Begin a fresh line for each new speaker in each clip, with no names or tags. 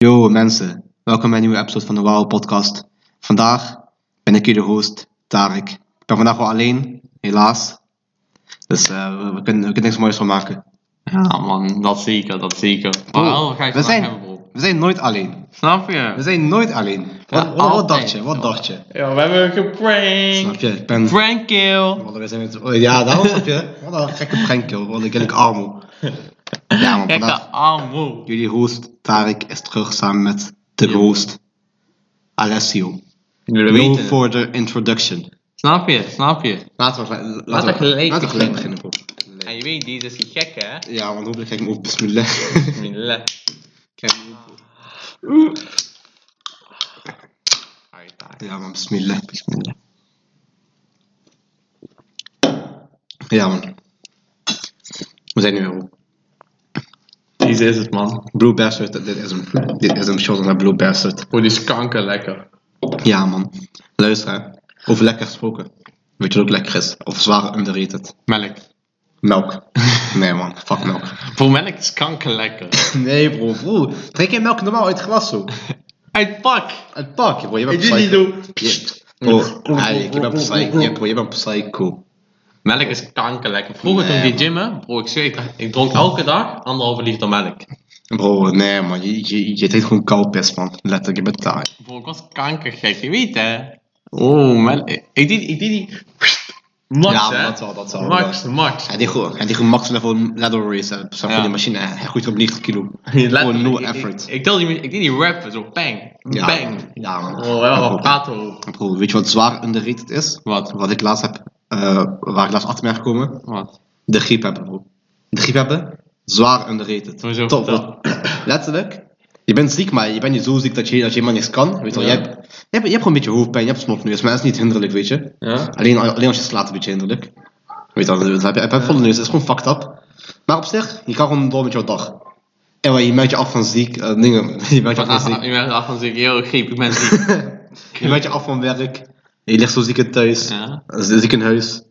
Yo mensen, welkom bij een nieuwe episode van de Wow Podcast. Vandaag ben ik jullie host, Tarek. Ik ben vandaag wel alleen, helaas. Dus eh, we, we kunnen, we kunnen niks moois van maken.
Ja Nou, man, dat zeker, dat zeker.
Bro,
Maar wel, ga je
we
vandaag
zijn-
hebben bro.
We zijn nooit alleen.
Snap
We
je?
zijn nooit alleen. Wat, wat, wat dacht je? Wat dacht je?
Ja, we hebben
Snap
geprankt.
je? Ik ben...
Prank kill.
Wallah, we zijn met- oh, Ja, daarom snap je. Wat een gekke prankel. Wat een gekke armo. Ja man,
Kijk
vandaag
de armo.
jullie host, Tarek, is terug samen met de
Ja.
host, Alessio.
Jullie
No further introduction.
Snap je, snap je.
Laten we, gelijk- laten
Laten we gelijk
laten we gelijk
beginnen.
beginnen, bro.
En je weet, deze is die gek hè?
Ja, want hopelijk ga ik hem op besmullen.
Bismillah.
ja, man, besmullen. Ja, man. We zijn nu weer op.
Deze is het man.
Blue Bastard, dit is hem. Dit is hem, shot naar Blue Bastard.
Voor Oh, die is kanker lekker.
Ja, man. Luister, hè. Over lekker gesproken. Weet je wat ook lekker is? Of zwaar underrated?
Melk.
Melk. Nee, man. Fuck melk.
Voor melk is kanker lekker.
Nee, bro. bro. Drink je melk normaal uit glas, zo?
Uit pak.
Uit pak, bro. Je bent
Ik doe niet
psycho.
doen.
Je- Oh, eigenlijk, je bent psycho. Ja, bro, je bent psycho.
Melk is kanker lekker. Vroeger
Nee,
toen ik
man.
ging gymmen, bro, ik zweer, ik dra- ik dronk elke dag anderhalve liter melk.
Bro, nee man, je, je, je deed gewoon koupest man. Letterlijk, je bent taai.
Bro, ik was kankergek, je weet hè. Oh, man. Ik deed, ik deed die... Max,
Ja,
hè.
dat wel, dat wel.
Max, Max.
Hij deed gewoon, hij deed gewoon max level ladder race, hè. Zo van
Ja.
die machine, hè. hij gooit op 90 kilo.
Letterlijk,
Gewoon no
ik-
effort.
Ik, ik, deed die, ik deed die rap, zo bang,
Ja,
bang.
Ja man.
Oh, ja,
Bro,
wat praten we over?
Bro, weet je wat zwaar underrated is?
Wat?
Wat ik laatst heb, eh, waar ik laatst achter ben gekomen?
Wat?
De griep hebben bro. De griep hebben, zwaar underrated.
Hoezo?
Top, bro. Letterlijk. Je bent ziek, maar je bent niet zo ziek dat je, dat je helemaal niks kan. Weet je wel,
Ja.
je, hebt, je, hebt, je hebt gewoon een beetje hoofdpijn, je hebt snotneus, maar dat is niet hinderlijk, weet je.
Ja?
Alleen, alleen als je slaat een beetje hinderlijk. Weet je, wel, dat heb je, heb je volle neus, dat is gewoon fucked up. Maar op zich, je kan gewoon door met jouw dag. En wel, je merkt je af van ziek, eh, dingen. Je merkt je af van
Ah,
ziek.
Je bent af en toe, yo, griep, ik ben ziek.
Je merkt je af van werk. Je ligt zo ziek in thuis.
ja.
Ziek in huis.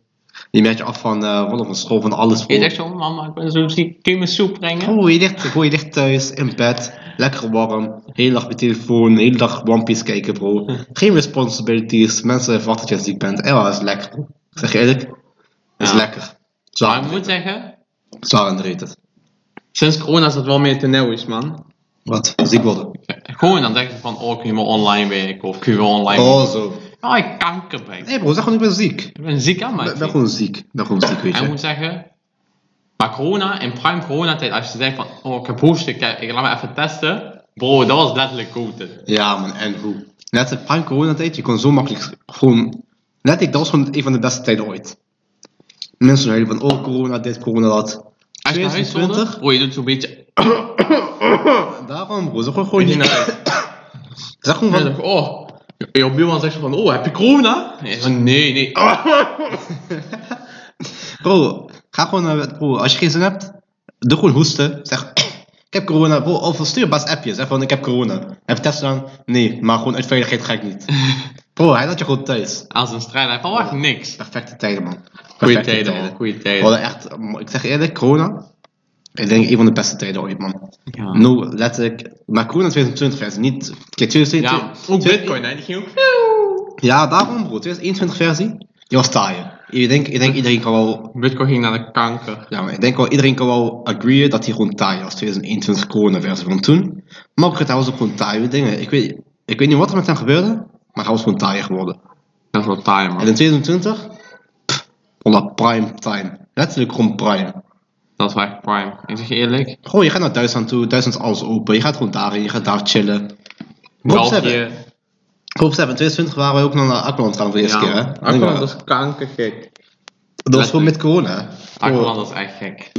Je merkt je af van, eh van, van school, van alles.
Je zegt zo, mama, ik ben zo ziek, kun je me soep brengen?
Oh, je ligt, bro, je ligt thuis, in bed. Lekker warm. De hele dag op je telefoon, de hele dag One Piece kijken, bro. Geen responsibilities. Mensen verwachten dat je ziek bent. En wel, dat is lekker, bro. Ik zeg je eerlijk, dat is
Ja.
lekker.
Maar
Zwaar,
ik moet zeggen,
zwaar underrated.
sinds corona is dat wel meer te nauw is, man.
Wat? Ziek worden.
Gewoon dan denk je van, oh, kun je maar online werken, of kun je wel online...
Oh, zo.
Ah, ik kanker ben.
Nee, bro, zeg gewoon, ik ben ziek. Ik
Ik ben ziek aan
ben,
mij.
ik ben gewoon ziek. Ik ben gewoon ziek, weet
En ik
je.
moet zeggen, maar corona, in prime coronatijd, als je denkt van, oh ik heb hoest, ik, ik laat me even testen. Bro, dat was letterlijk goten.
Ja, man, en hoe? Net in prime coronatijd, je kon zo makkelijk gewoon... Net, ik, dat was gewoon een van de beste tijden ooit. Mensen zeiden van, oh, corona dit, corona dat.
Als je naar huis stond, bro, je doet zo'n beetje,
Daarom, bro, zeg gewoon
je
gewoon
doet naar
niet.
huis.
Zeg gewoon
En dan
van...
denk ik, oh, je- je buurman zegt van, oh heb je corona? Nee, van, nee, nee.
Bro, ga gewoon naar bed, bro. Als je geen zin hebt, doe gewoon hoesten. Zeg, ik heb corona, bro. Of stuur baas appjes. Zeg van, ik heb corona. Heb je test gedaan? Nee, maar gewoon uit veiligheid ga ik niet. Bro, hij had je gewoon thuis.
Aan zijn strijd, hij verwacht niks.
Perfecte tijden, man. Perfecte
Goeie tijden, man, goeie
We
tijden.
hadden echt, eh, ik zeg je eerlijk, corona. Ik denk een van de beste tijden ooit, man.
Ja.
No, letterlijk. Maar corona 2020 versie, niet... Kijk, 2022.
Ja, ook bitcoin, hè, die ging ook...
Ja, daarom bro. 2021 versie, die was taai. Ik denk, ik denk iedereen kan wel...
Bitcoin ging naar de kanker.
Ja, maar ik denk wel, iedereen kan wel agreeën dat hij gewoon taai was. 2021 corona versie van toen. Maar ook, hij was ook gewoon taai. Dingen. Ik, weet, ik weet niet wat er met hem gebeurde, maar hij was gewoon taai geworden.
Dat is wel taai,
En
man.
in 2020, pff, onder prime time. Letterlijk gewoon prime.
Dat is wel echt prime. Ik zeg je eerlijk,
Gewoon, je gaat naar Duitsland toe, Duitsland is alles open. Je gaat gewoon daarheen, je gaat daar chillen. Hoop ze hebben,
België...
hoop ze hebben. In 2020 waren we ook nog naar Akkerland gaan voor de eerste keer, hè? eh,
Akkerland is kankergek.
Dat was gewoon met corona, hè?
Akkerland is echt gek.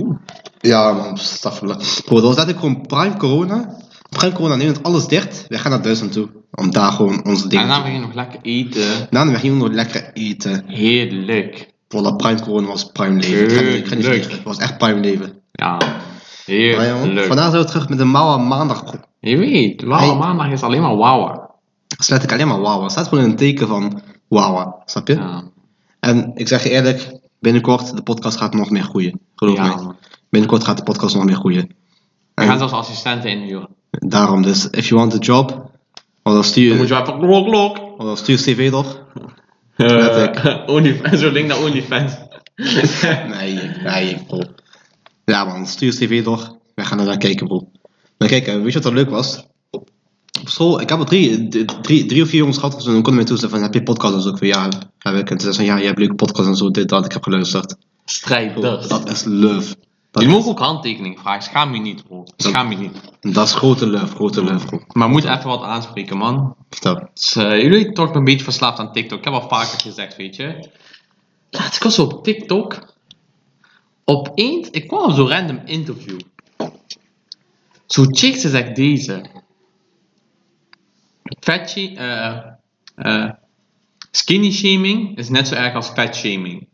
Ja, man, staffelen. Bro, dat was letterlijk gewoon prime corona. Prime corona neemt alles dicht. Wij gaan naar Duitsland toe. Om daar gewoon onze dingen
En
te
dan
doen.
ging je nog lekker eten.
Daarna we gingen nog lekker eten.
Heerlijk.
Bro, dat prime corona was prime leven. Ik ga niet- Ik ga niet
Heerlijk.
liegen. Het was echt prime leven.
Ja.
Maar ja, man,
Heerlijk.
vandaag zijn we terug met een mouwe maandag. bro.
Je weet, wauw,
Hey.
maandag is alleen maar wauw.
Dat is letterlijk alleen maar wauw. Het staat gewoon in een teken van wauw. Snap je?
Ja.
En ik zeg je eerlijk, binnenkort, de podcast gaat nog meer groeien. Geloof
Ja,
me.
man.
Binnenkort gaat de podcast nog meer groeien.
We gaan zelfs assistenten inhuren.
Daarom dus, if you want a job, of dan
Dan moet
stuur,
je wel even klok, klok.
of dan stuur CV toch?
Eh, Onlyfans, zo'n link naar Onlyfans.
Nee, nee, bro. Ja man, stuur CV door. Wij gaan er naar kijken, bro. Maar kijk, eh, weet je wat er leuk was? Op school, ik had wel drie, d- drie, drie of vier jongens gehad, dus dan konden mij toestaan van, heb je podcast en zo? Ik van, ja, heb ik. En toen zei ze, ja, je hebt leuke podcast en zo, dit, dat, ik heb geluisterd.
Strijders.
Dat is love. Dat,
Je mag ook handtekening vragen, schaam je niet bro. Schaam je niet.
dat is grote love, grote love, bro.
Maar moet even wat aanspreken man.
Vertel.
Dus, eh, jullie toch een beetje verslaafd aan TikTok. Ik heb al vaker gezegd, weet je. Laatst was op TikTok. Opeens, ik kwam op zo'n random interview. Zo'n chick, ze zegt deze. Fat sh- eh, eh, skinny shaming is net zo erg als fat shaming.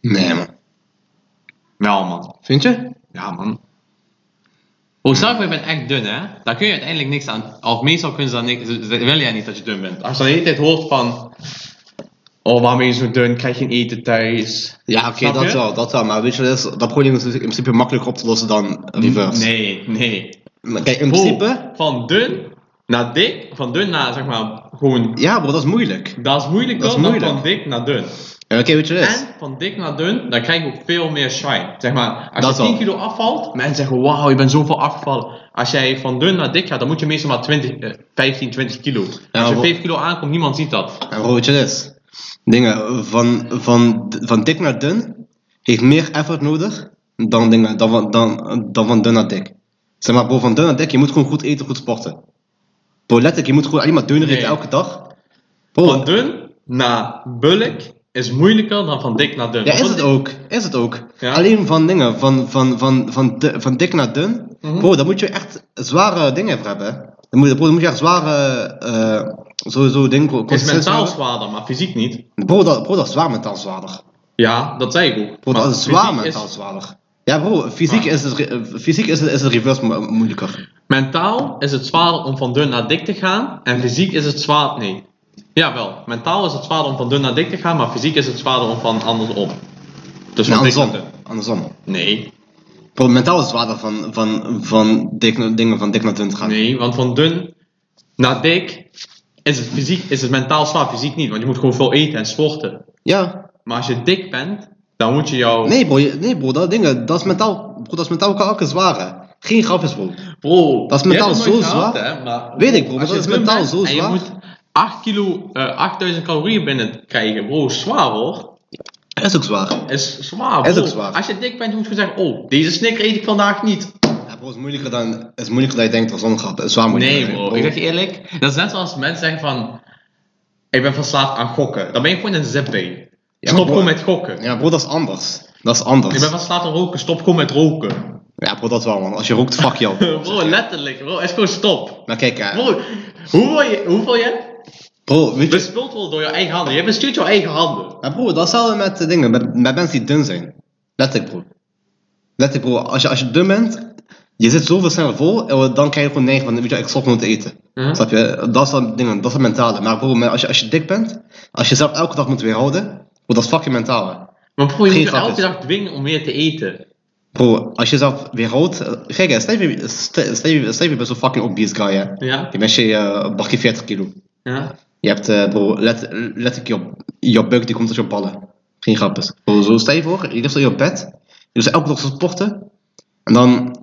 Nee man.
Wel man.
Vind je?
Ja, man. Oh, stel je bent echt dun, hè? Dan kun je uiteindelijk niks aan. Of meestal kunnen ze dan niks. ze- ze willen jij niet dat je dun bent. Als je dan de hele tijd hoort van. Oh, waarom ben je zo dun? Krijg je geen eten thuis?
Ja, oké,
Snap
dat
je?
wel, dat wel. Maar weet je, dat, is- dat probleem is in principe makkelijker op te lossen dan reverse.
Nee, nee.
Maar Kijk, in
Bro,
principe,
van dun naar dik. Van dun naar zeg maar gewoon.
ja bro, dat is moeilijk.
Dat is moeilijk
Dat is
dan, dan
moeilijk.
van dik naar dun.
Ja, Oké, weet je wat het is?
En van dik naar dun, dan krijg je ook veel meer shine. Zeg maar, als
Dat
je 10
wel.
kilo afvalt, mensen zeggen wauw, je bent zoveel afgevallen. Als jij van dun naar dik gaat, dan moet je meestal maar 20, eh, 15, 20 kilo. als je
maar-
5 kilo aankomt, niemand ziet dat.
En bro, weet je wat het is? Eh, Dingen, van, van, van dik naar dun heeft meer effort nodig dan, dingen, dan, van, dan, dan van dun naar dik. Zeg maar bro, van dun naar dik, je moet gewoon goed eten, goed sporten. Bro, letterlijk, je moet gewoon alleen maar dun eten
Nee.
elke dag. Bro,
Van dun naar bulk is moeilijker dan van dik naar dun.
Ja,
Want
is
van
het
dik-
ook. Is het ook.
Ja.
Alleen van dingen, van, van, van, van, di- van dik naar dun.
Mhm.
Bro, daar moet je echt zware dingen voor hebben. hè. Dan moet, bro, dan moet je echt zware, eh sowieso dingen,
Is
consistentie
mentaal
hebben.
zwaarder, maar fysiek niet.
Bro, dat, bro, dat is zwaar mentaal zwaarder.
Ja, dat zei ik ook.
Bro,
Maar
dat is zwaar
fysiek is-
mentaal zwaarder. Ja bro, fysiek,
Maar-
is, het, re- eh, fysiek is, het, is het reverse mo- moeilijker.
Mentaal is het zwaarder om van dun naar dik te gaan en fysiek is het zwaar. Nee. Jawel, mentaal is het zwaarder om van dun naar dik te gaan, maar fysiek is het zwaarder om van andersom. Dus
Nee,
van dik
andersom.
naar dun.
andersom.
Nee,
Bro, mentaal is het zwaarder van, van, van dik, naar- dingen van dik naar dun te gaan.
nee, want van dun naar dik is het, fysiek, is het mentaal zwaar, fysiek niet, want je moet gewoon veel eten en sporten.
Ja.
Maar als je dik bent, dan moet je jouw.
Nee bro, je- nee, bro dat, dingen, dat is mentaal, bro, dat is mentaal elke zware. Geen grapjes bro.
Bro,
Dat is
je hebt
mentaal
het nooit
zo
gehad,
zwaar.
hè, maar-
Weet ik, bro, maar
Als je
dat is
dun
mentaal
bent
zo
en
zwaar.
je moet 8 kilo, eh, 8000 calorieën binnenkrijgen, bro, zwaar hoor.
Is ook zwaar.
is zwaar.
Is
bro.
ook zwaar.
Als je dik bent, moet je zeggen: Oh, deze snicker eet ik vandaag niet.
Ja, bro, het is moeilijker dan, het is moeilijker dan je denkt, was zonder grap. Het is zwaar moeilijker.
Nee, bro. Ik zeg je eerlijk: Dat is net zoals mensen zeggen van. Ik ben verslaafd aan gokken. Dan ben je gewoon een zippy.
Ja,
Stop
maar bro-
gewoon met gokken.
Ja, bro, dat is anders. Dat is anders.
Ik ben verslaafd aan roken. Stop gewoon met roken.
Ja, bro, dat wel, man. Als je rookt, fuck je op.
Bro, letterlijk, bro. Is gewoon stop.
Maar kijk, eh,
Bro, hoeveel je, hoeveel je
bro, weet je...
bespild wordt door je eigen handen. Je bestuurt jouw eigen handen.
Maar bro, dat is hetzelfde met eh, dingen, met, met mensen die dun zijn. Letterlijk, bro. Letterlijk, bro. Als je, als je dun bent, je zit zoveel sneller vol, en dan krijg je gewoon neiging van, weet je, ik stop gewoon te eten.
Mhm.
Snap je? Dat is dan dingen, dat is het mentale. Maar bro, maar als je, als je dik bent, als je zelf elke dag moet weerhouden, bro, dat is fucking mentaal, hè.
Maar bro, je
Geen
moet je elke
grapjes.
dag dwingen om meer te eten.
Bro, als je zelf weer houdt. eh, Kijk, hè, stel je- stel- stel je stel je bent zo'n fucking obese guy, hè.
Ja?
Je bent je eh, bakje 40 kilo.
Ja?
Je hebt, eh, bro, let, let ik op. Je buik die komt uit je ballen. Geen grappig. Bro, zo stel je voor, je ligt zo in je bed. Je doet elke dag sporten. En dan.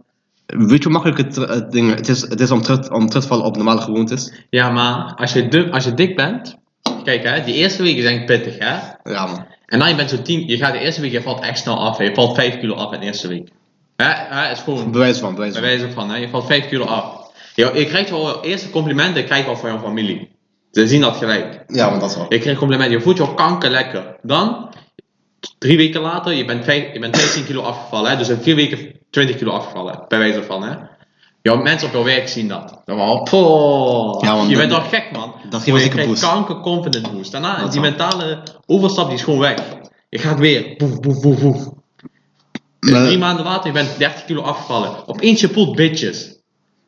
Weet je hoe makkelijk het, eh, ding, het is, het is om, terug, om terug te vallen op normale gewoontes?
Ja, maar als je, dun, als je dik bent, kijk hè, die eerste weken zijn pittig hè.
Ja, man.
En dan je bent zo 10, je gaat de eerste week, je valt echt snel af. hè. Je valt 5 kilo af in de eerste week. Hè, hè, is gewoon
Bewijs van, bewijs
bij
van.
wijze van, hè, je valt 5 kilo af. Je, je krijgt wel eerste complimenten, krijg je al van jouw familie. Ze zien dat gelijk.
Ja, want dat is wel.
Je krijgt complimenten, je voelt je kanker lekker. Dan, drie weken later, je bent, vijf, je bent 15 kilo afgevallen. Hè? Dus in vier weken 20 kilo afgevallen, bij wijze van. Hè? Jouw mensen op jouw werk zien dat. Dan wel, poh,
Ja, want
je
dat-
bent toch gek man.
dat geeft
Maar
een
je
dikke
krijgt
boost.
kanker confident boost. Daarna,
Dat
die
wel.
mentale overstap die is gewoon weg. Je gaat weer, boef, boef, boef, boef. En
Maar-
drie maanden later, je bent 30 kilo afgevallen. Opeens je voelt bitches.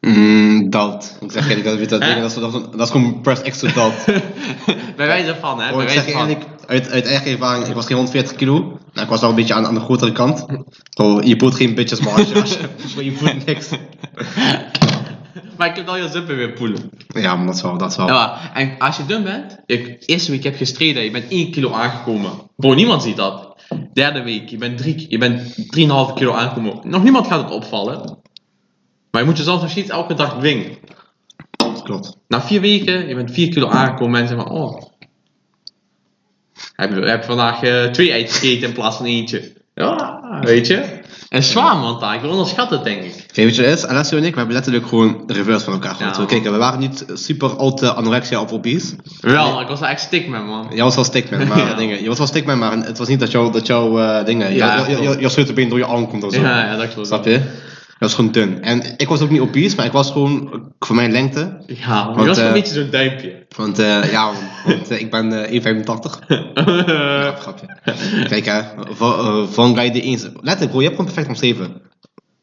Mm, doubt. Ik zeg eerlijk, dat, weet je, dat,
Hè?
ding, dat, is, dat, is, dat is gewoon press extra doubt.
bij wijze van, hè.
Oh,
bij
ik zeg
wijze
je
van.
eerlijk, uit, uit eigen ervaring, ik was geen 140 kilo. Nou, ik was wel een beetje aan, aan de grotere kant. Oh, je boot geen bitches maar als je- als je-
Maar je voelt
niks.
maar ik heb al je zippen weer poelen.
Ja, maar dat wel, dat wel.
Ja, en als je dun bent, je eerste week heb je gestreden, je bent 1 kilo aangekomen. Bro, niemand ziet dat. Derde week, je bent 3 je bent 3,5 kilo aangekomen. Nog niemand gaat het opvallen. Maar je moet jezelf nog steeds elke dag dwingen.
Klopt.
Na vier weken, je bent 4 kilo aangekomen, mensen van, oh. Heb je heb vandaag eh, twee eitjes gegeten in plaats van eentje. Ja, weet je. En zwaar, man, taak. Je onderschat het, denk ik.
Oké, weet je wat het is? Alessio en ik, we hebben letterlijk gewoon de reverse van elkaar gehad.
Ja.
Kijk, we waren niet super al te anorexia of obese.
Wel, ik was er echt stik mee, man.
Jij was wel stickman, maar
Ja.
dingen, je was wel stickman, maar het was niet dat jouw dat jou, eh, dingen,
Ja,
jou- jou- jou- jouw sleutelbeen door je arm komt of zo.
Ja, ja, dat klopt.
Snap je? Je was gewoon dun. En ik was ook niet obese, maar ik was gewoon eh, voor mijn lengte.
Ja, man.
Want,
je was
eh,
een beetje zo'n duimpje.
Want eh, ja, want, eh, ik ben eh, 1,85. Grap, grapje. Kijk hè, van, eh, van guy die eens... Letterlijk bro, je hebt gewoon perfect omschreven.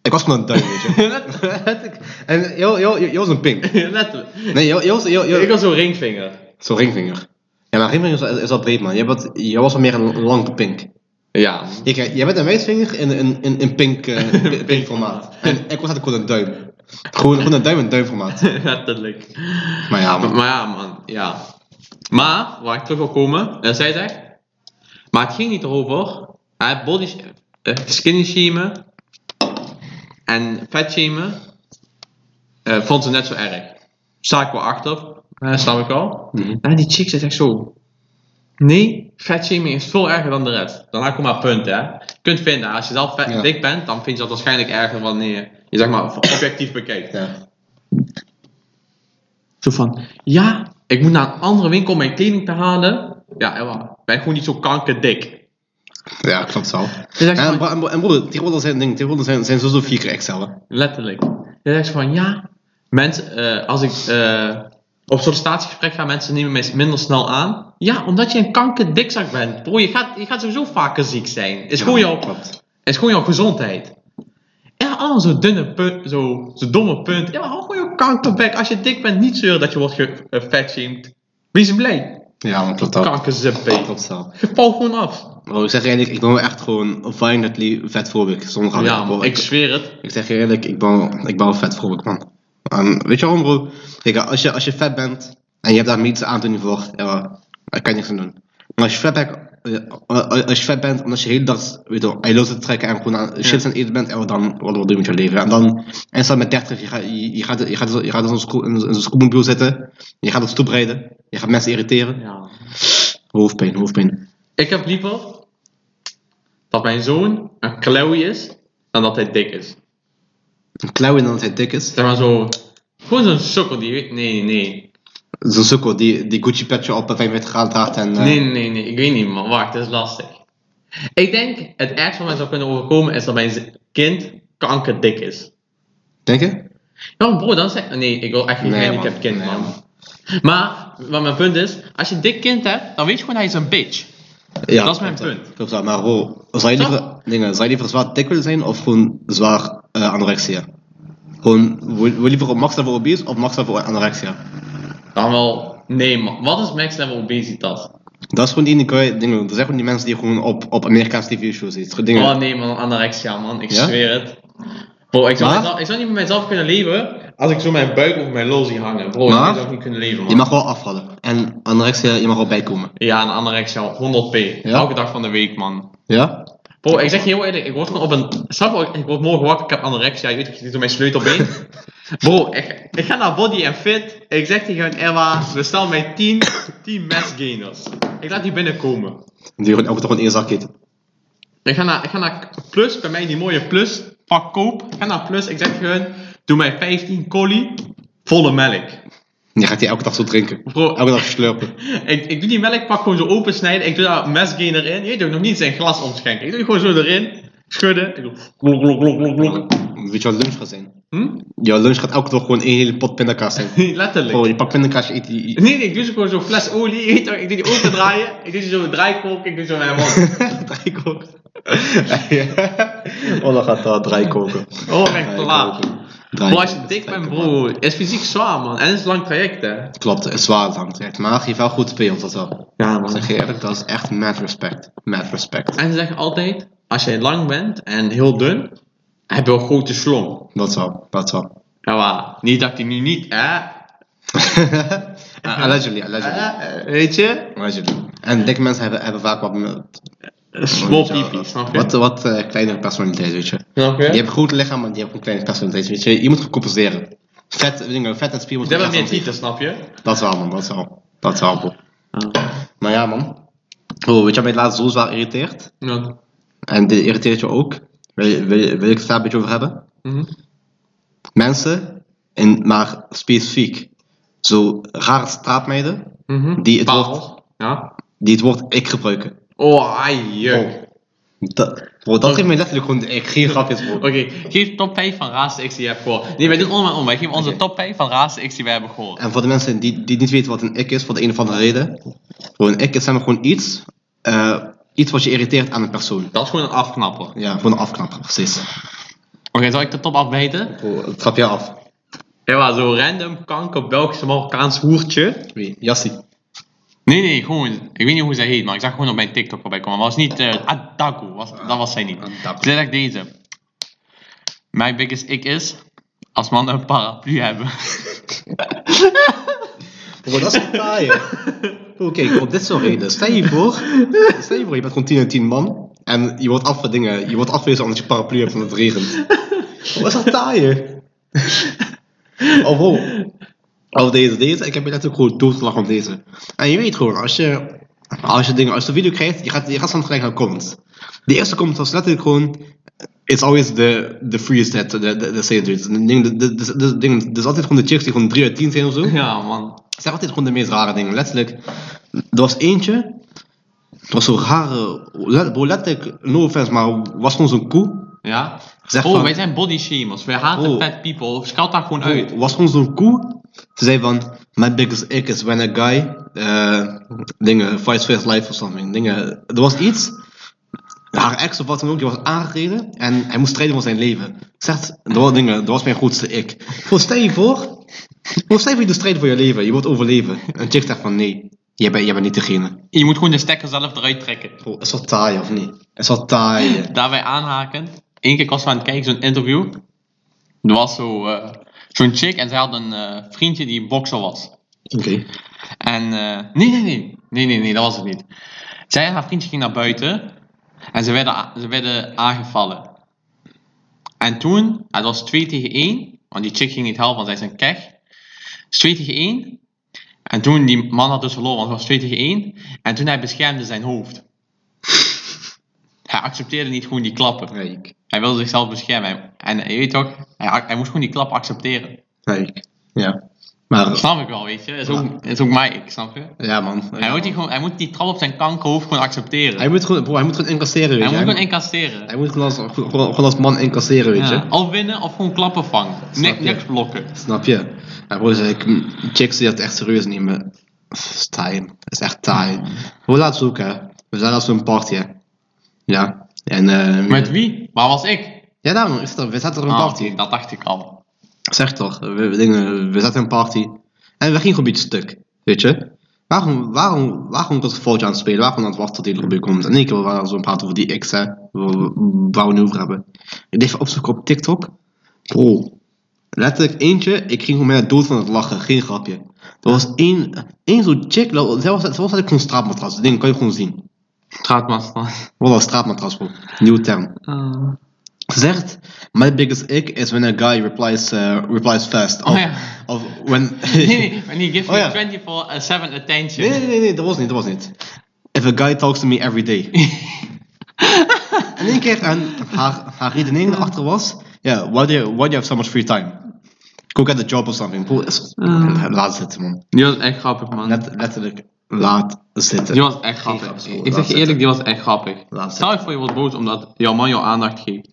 Ik was gewoon een duim, weet je. en joh, joh, joh, je was een pink.
Letterlijk.
Nee, joh, joh, joh, joh.
Ik was zo'n ringvinger.
Zo'n ringvinger. Ja, maar ringvinger is, wel- is wel breed man. Jij, bent, jij was wel meer een lange pink.
Ja.
Ik, eh, jij bent een wijsvinger in, in, in, in pink, eh, pink, pink formaat. En ik was altijd gewoon een duim. Gewoon, gewoon een duim in duim formaat.
Letterlijk.
Maar ja,
Maar,
man.
maar ja, man. Ja. Maar, waar ik terug wil komen, eh, zij zegt. Maar het ging niet erover. Hij body sh- eh, skinny shamen en fat shamen eh, vond ze net zo erg. Sta ik wel achter, eh, snap ik al.
Mhm.
Maar die chick zegt echt zo. Nee, fat shaming is veel erger dan de rest. Dan haak ik maar punt, hè. Je kunt vinden, als je zelf vet,
Ja.
dik bent, dan vind je dat waarschijnlijk erger wanneer je zeg maar objectief bekijkt.
Ja.
Zo van, ja, ik moet naar een andere winkel om mijn kleding te halen. Ja, Emma, ben gewoon niet zo kankerdik.
ja, klopt wel.
Dus echt
En,
van-
bro- en, bro- en broer, tegenwoordig zijn, ding, tegenwoordig zijn, zijn sowieso vier keer Excel.
Letterlijk. Hij zegt van, ja, mensen, eh, als ik eh, op sollicitatiegesprek ga, mensen nemen mij minder snel aan. Ja, omdat je een kankerdikzak bent. Bro, je gaat, je gaat sowieso vaker ziek zijn. Is, gewoon, jouw,
Klopt.
is gewoon jouw gezondheid. Ja, allemaal zo'n dunne punt, zo, zo'n domme punt. Ja, maar hou gewoon je kankerbek. Als je dik bent, niet zeuren dat je wordt gefatshamed. Wees blij.
Ja, man, klopt wel.
Kankerzippé.
Klopt wel.
Je valt gewoon af.
Bro, ik zeg je eerlijk, ik ben wel echt gewoon violently vetfobic. Zonder grap.
Ja,
Bro,
man, ik zweer het.
Ik zeg je eerlijk, ik ben, ik ben wel vet vrolijk, man. Ehm, weet je waarom, bro? Kijk, als je, als je vet bent en je hebt daar niets aan te doen voor, ja, daar kan je niks aan doen. Maar als je vet bent, eh, eh, als je vet bent en als je de hele dag weet je, wel, aan je los te trekken en gewoon aan shit aan het eten bent, ja, dan wat wat doe je met je leven? En dan, en stel met 30, je, gaat je, je gaat, je gaat, je gaat in zo'n sco- in zo'n schoolmobiel zitten, je gaat op stoep rijden, je gaat mensen irriteren.
Ja.
Hoofdpijn, hoofdpijn.
Ik heb liever dat mijn zoon een klauwje is dan dat hij dik is.
Een klauw en dan dat hij dik is.
Zeg maar zo, gewoon zo'n sukkel die weet, nee, nee,
Zo'n sukkel die, die Gucci petje op 45 graden draagt en... eh,
nee, nee, nee, ik weet niet man, wacht, dat is lastig. Ik denk, het ergste wat mij zou kunnen overkomen is dat mijn z- kind kankerdik is.
Denk je?
Ja, bro, dan zeg nee, ik wil echt geen
Nee, man.
gehandicapt kind
Nee,
man.
man.
Maar, wat mijn punt is, als je een dik kind hebt, dan weet je gewoon hij is een bitch.
Ja,
Dat is mijn
klopt wel.
punt.
Klopt wel, maar bro, zou je liever, dingen, zou je liever zwaar dik willen zijn of gewoon zwaar eh, anorexia? Gewoon, wil wil je liever op max level obese of max level anorexia?
Dan wel, nee man, wat is max level obesitas?
Dat is gewoon die, die dingen, dat zijn gewoon die mensen die gewoon op, op Amerikaanse tv-shows zitten. Dingen.
Oh nee man, anorexia man, ik
Ja?
zweer het. Bro, ik zou,
Maar?
mezelf- ik zou niet met mezelf kunnen leven als ik zo mijn buik over mijn lul zie hangen. Bro,
Maar?
ik zou niet kunnen leven
je
man.
mag wel afvallen. En anorexia, je mag wel bijkomen.
Ja, een anorexia, 100p.
Ja?
Elke dag van de week man.
Ja?
Bro, ik zeg je heel eerlijk, ik word gewoon op een... Snap je, ik word morgen wakker, ik heb anorexia, je weet ik zit door mijn sleutelbeen. Bro, ik, ik ga naar Body and Fit, ik zeg tegen Emma, bestel mij 10, 10 messgainers. Ik laat die binnenkomen.
Die gewoon elke dag gewoon één zak eten.
Ik ga, naar, ik ga naar Plus, bij mij die mooie Plus, pak koop. Ik ga naar Plus, ik zeg gewoon, doe mij 15 collie, volle melk.
En je gaat die elke dag zo drinken.
Bro.
Elke dag slurpen.
Ik, ik doe die melkpak gewoon zo opensnijden, ik doe daar mesgain erin. Je weet ook nog niet zijn glas omschenken. Ik doe die gewoon zo erin, schudden. Ik doe glok, glok, glok, glok, glok.
Weet je wat lunch gaat zijn?
Hm?
Jouw lunch gaat elke dag gewoon één hele pot pindakaas zijn.
Letterlijk.
Bro, je pakt pindakaas, je eet die... je-
Nee, nee, ik doe zo gewoon zo'n fles olie, je weet toch, ik doe die open draaien. Ik doe die zo draaikolk, ik doe zo mijn mond.
Draai oh, dan gaat dat draai koken.
Oh, echt klaar.
Draai
Bro, als je dik bent, bro, is fysiek zwaar, man. En het is een lang traject, hè.
Klopt, het is zwaar het hangt echt. Maar geef wel goed speel, dat wel.
Ja, man.
Zeg je eerlijk, dat is echt mad respect. Mad respect.
En ze zeggen altijd, als jij lang bent en heel dun, heb je een grote slong.
Dat wel, dat wel.
Ja, maar niet dat hij nu niet, hè?
allegedly, allegedly.
Eh, eh, Weet je?
allegedly. En dikke mensen hebben, hebben vaak wat... met-
Small piepie, snap je?
Wat, wat eh, kleinere personaliteit, weet je.
Snap
Je
je?
hebt een goed lichaam, maar je hebt ook een kleine personaliteit, weet je. Je moet compenseren. Vet, dingen, vet en spier moet
Ik heb wel meer
compenseren.
tieten, snap je?
Dat wel, man. Dat wel. Dat wel, bro. Maar ja, man. Oh, weet je wat mij laatst zo zwaar irriteert?
Ja.
En dit irriteert je ook? Wil, je- wil, je- wil ik het daar een beetje over hebben?
Mhm.
Mensen, en maar specifiek, zo rare straatmeiden,
Mhm.
Die het
Parels.
woord-
Ja.
die het woord ik gebruiken.
Oh, ai, juk.
Oh. Dat, bro, dat geeft mij letterlijk gewoon de ik. Geen grapjes, bro.
Oké, geef top 5 van razen X die je hebt gehoord. Nee, wij doen allemaal om. Wij geven onze
Oké.
top 5 van razen X die wij hebben gehoord.
En voor de mensen die, die niet weten wat een ik is, voor de een of andere reden. Gewoon een ik is helemaal gewoon iets, eh, iets wat je irriteert aan een persoon.
Dat is gewoon een afknapper. Oké,
Ja, gewoon een afknapper, precies.
zal ik de top afbijten?
Bro, het trap je af.
Ja, maar zo random kanker Belgische Marokkaans hoertje.
Wie? Jassie.
Nee, nee, gewoon. Ik weet niet hoe zij heet, maar ik zag gewoon op mijn TikTok voorbij komen. Maar het was niet eh Adaku, was, dat was zij niet.
Adaku.
Zij zegt deze. Mijn biggest ik is als mannen een paraplu hebben.
Bro, dat is een taai, hè. Bro, Kijk, op dit soort reden. Stel je voor, stel je voor, je bent gewoon 10 en 10 man. En je wordt af van dingen, je wordt afgewezen omdat je paraplu hebt omdat het regent. Wat is dat taai, hè? Of, oh, of deze, deze. Ik heb je natuurlijk gewoon doodgelachen om deze. En je weet gewoon, als je, als je dingen, als je de video krijgt, je gaat, je gaat soms gelijk naar comments. De eerste comment was letterlijk gewoon, it's always the, the freest that, the, the, the same dudes. De ding- de- de- de- de ding- Dus altijd gewoon de chicks die gewoon 3 uit 10 zijn of zo.
ja, man.
Het zijn altijd gewoon de meest rare dingen. Letterlijk, er was eentje. Het was zo'n rare. let- Bro, letterlijk, no offense, maar was gewoon zo'n koe.
Ja?
Zeg
oh,
van-
wij zijn body shamers. Wij haten
Oh.
fat people. Scheld daar gewoon uit.
Was gewoon zo'n koe. Ze zei van. My biggest ick is when a guy. eh, dingen, fights for his life of something. Dingen. Er was iets. Haar ex of wat dan ook, die was aangereden. En hij moest strijden voor zijn leven. Zegt, dat was, dingen, dat was mijn grootste ik. Bro, stel je voor. Bro, stel je voor, je doet strijden voor je leven. Je wilt overleven. En chick zegt van nee. Jij bent, jij bent niet degene.
Je moet gewoon de stekker zelf eruit trekken.
Bro, is dat taai of niet? Is dat taai? eh.
daarbij aanhaken. Eén keer ik was aan het kijken, zo'n interview. Er was zo, eh, zo'n chick en zij had een eh, vriendje die bokser was.
Oké.
En eh, nee, nee, nee, nee, nee, nee, dat was het niet. Zij en haar vriendje gingen naar buiten en ze werden, a- ze werden aangevallen. En toen, het was 2 tegen 1, want die chick ging niet helpen, want zij is een kech. Het is 2 tegen 1. En toen, die man had dus verloren, want het was 2 tegen 1. En toen hij beschermde zijn hoofd. Hij accepteerde niet gewoon die klappen.
Rijk.
Hij wilde zichzelf beschermen. En je weet toch, hij, hij moest gewoon die klap accepteren.
Rijk. Ja. Maar,
Snap ik wel, weet je. Dat is ook, dat is ook mij, ik snap je.
ja man.
Hij moet, die gewoon, hij moet die trap op zijn kankerhoofd gewoon accepteren.
Hij
Hij,
moet gewoon, bro, hij moet gewoon incasseren, weet je.
moet gewoon
Hij-
incasseren.
hij moet gewoon als, gewoon, gewoon als man incasseren, weet
Ja.
je.
Of winnen of gewoon klappen vangen.
Snap
Nek,
je?
blokken.
Snap je? En bro, zei ik, mm, chicks die dat echt serieus nemen. Is taai. Is echt taai. Hoe laat zoeken, hè. We zijn als een party, hè. Ja. En, eh
Met wie? Waar was ik?
Ja, daarom. Is dat, we zaten op een
Ah,
party.
dat dacht ik al.
Zeg toch, we, we, dingen, we zaten in een party en we gingen gewoon een beetje stuk, weet je? Waarom, waarom, waarom dat foutje aan het spelen? Waarom aan het wachten tot die lobby komt? En één keer waren we zo aan het praten over die X, hè, waar we, waar we nu over hebben. Ik deed even opzoeken op TikTok. Bro, letterlijk eentje, ik ging gewoon bijna dood van het lachen, geen grapje. Er was één, één zo'n chick, lo- zij was, zij was eigenlijk gewoon straatmatras, dat ding kan je gewoon zien.
Gaat maar snel.
Wat een straatmatras, bro. Nieuwe term. Oh.
Ah.
Zegt, my biggest ick is when a guy replies, eh, replies fast.
Oh
Of-
ja.
Of when...
Nee, nee, when he gives
Oh, ja.
me 24-7 attention.
Nee, nee, nee, nee, dat was niet, dat was niet. If a guy talks to me every day. en één keer, en haar, haar redenering erachter was, ja, why, do you, why do you have so much free time? Go get a job or something. Bro, is-
Ah.
Laat zitten, man.
Die was echt grappig, man.
Let, letterlijk, laat zitten.
Die was echt grappig.
grapjes,
Ik
laat
zeg je
zitten.
eerlijk, die was echt grappig.
Laat
Stel je voor je wordt boos omdat jouw man jouw aandacht geeft.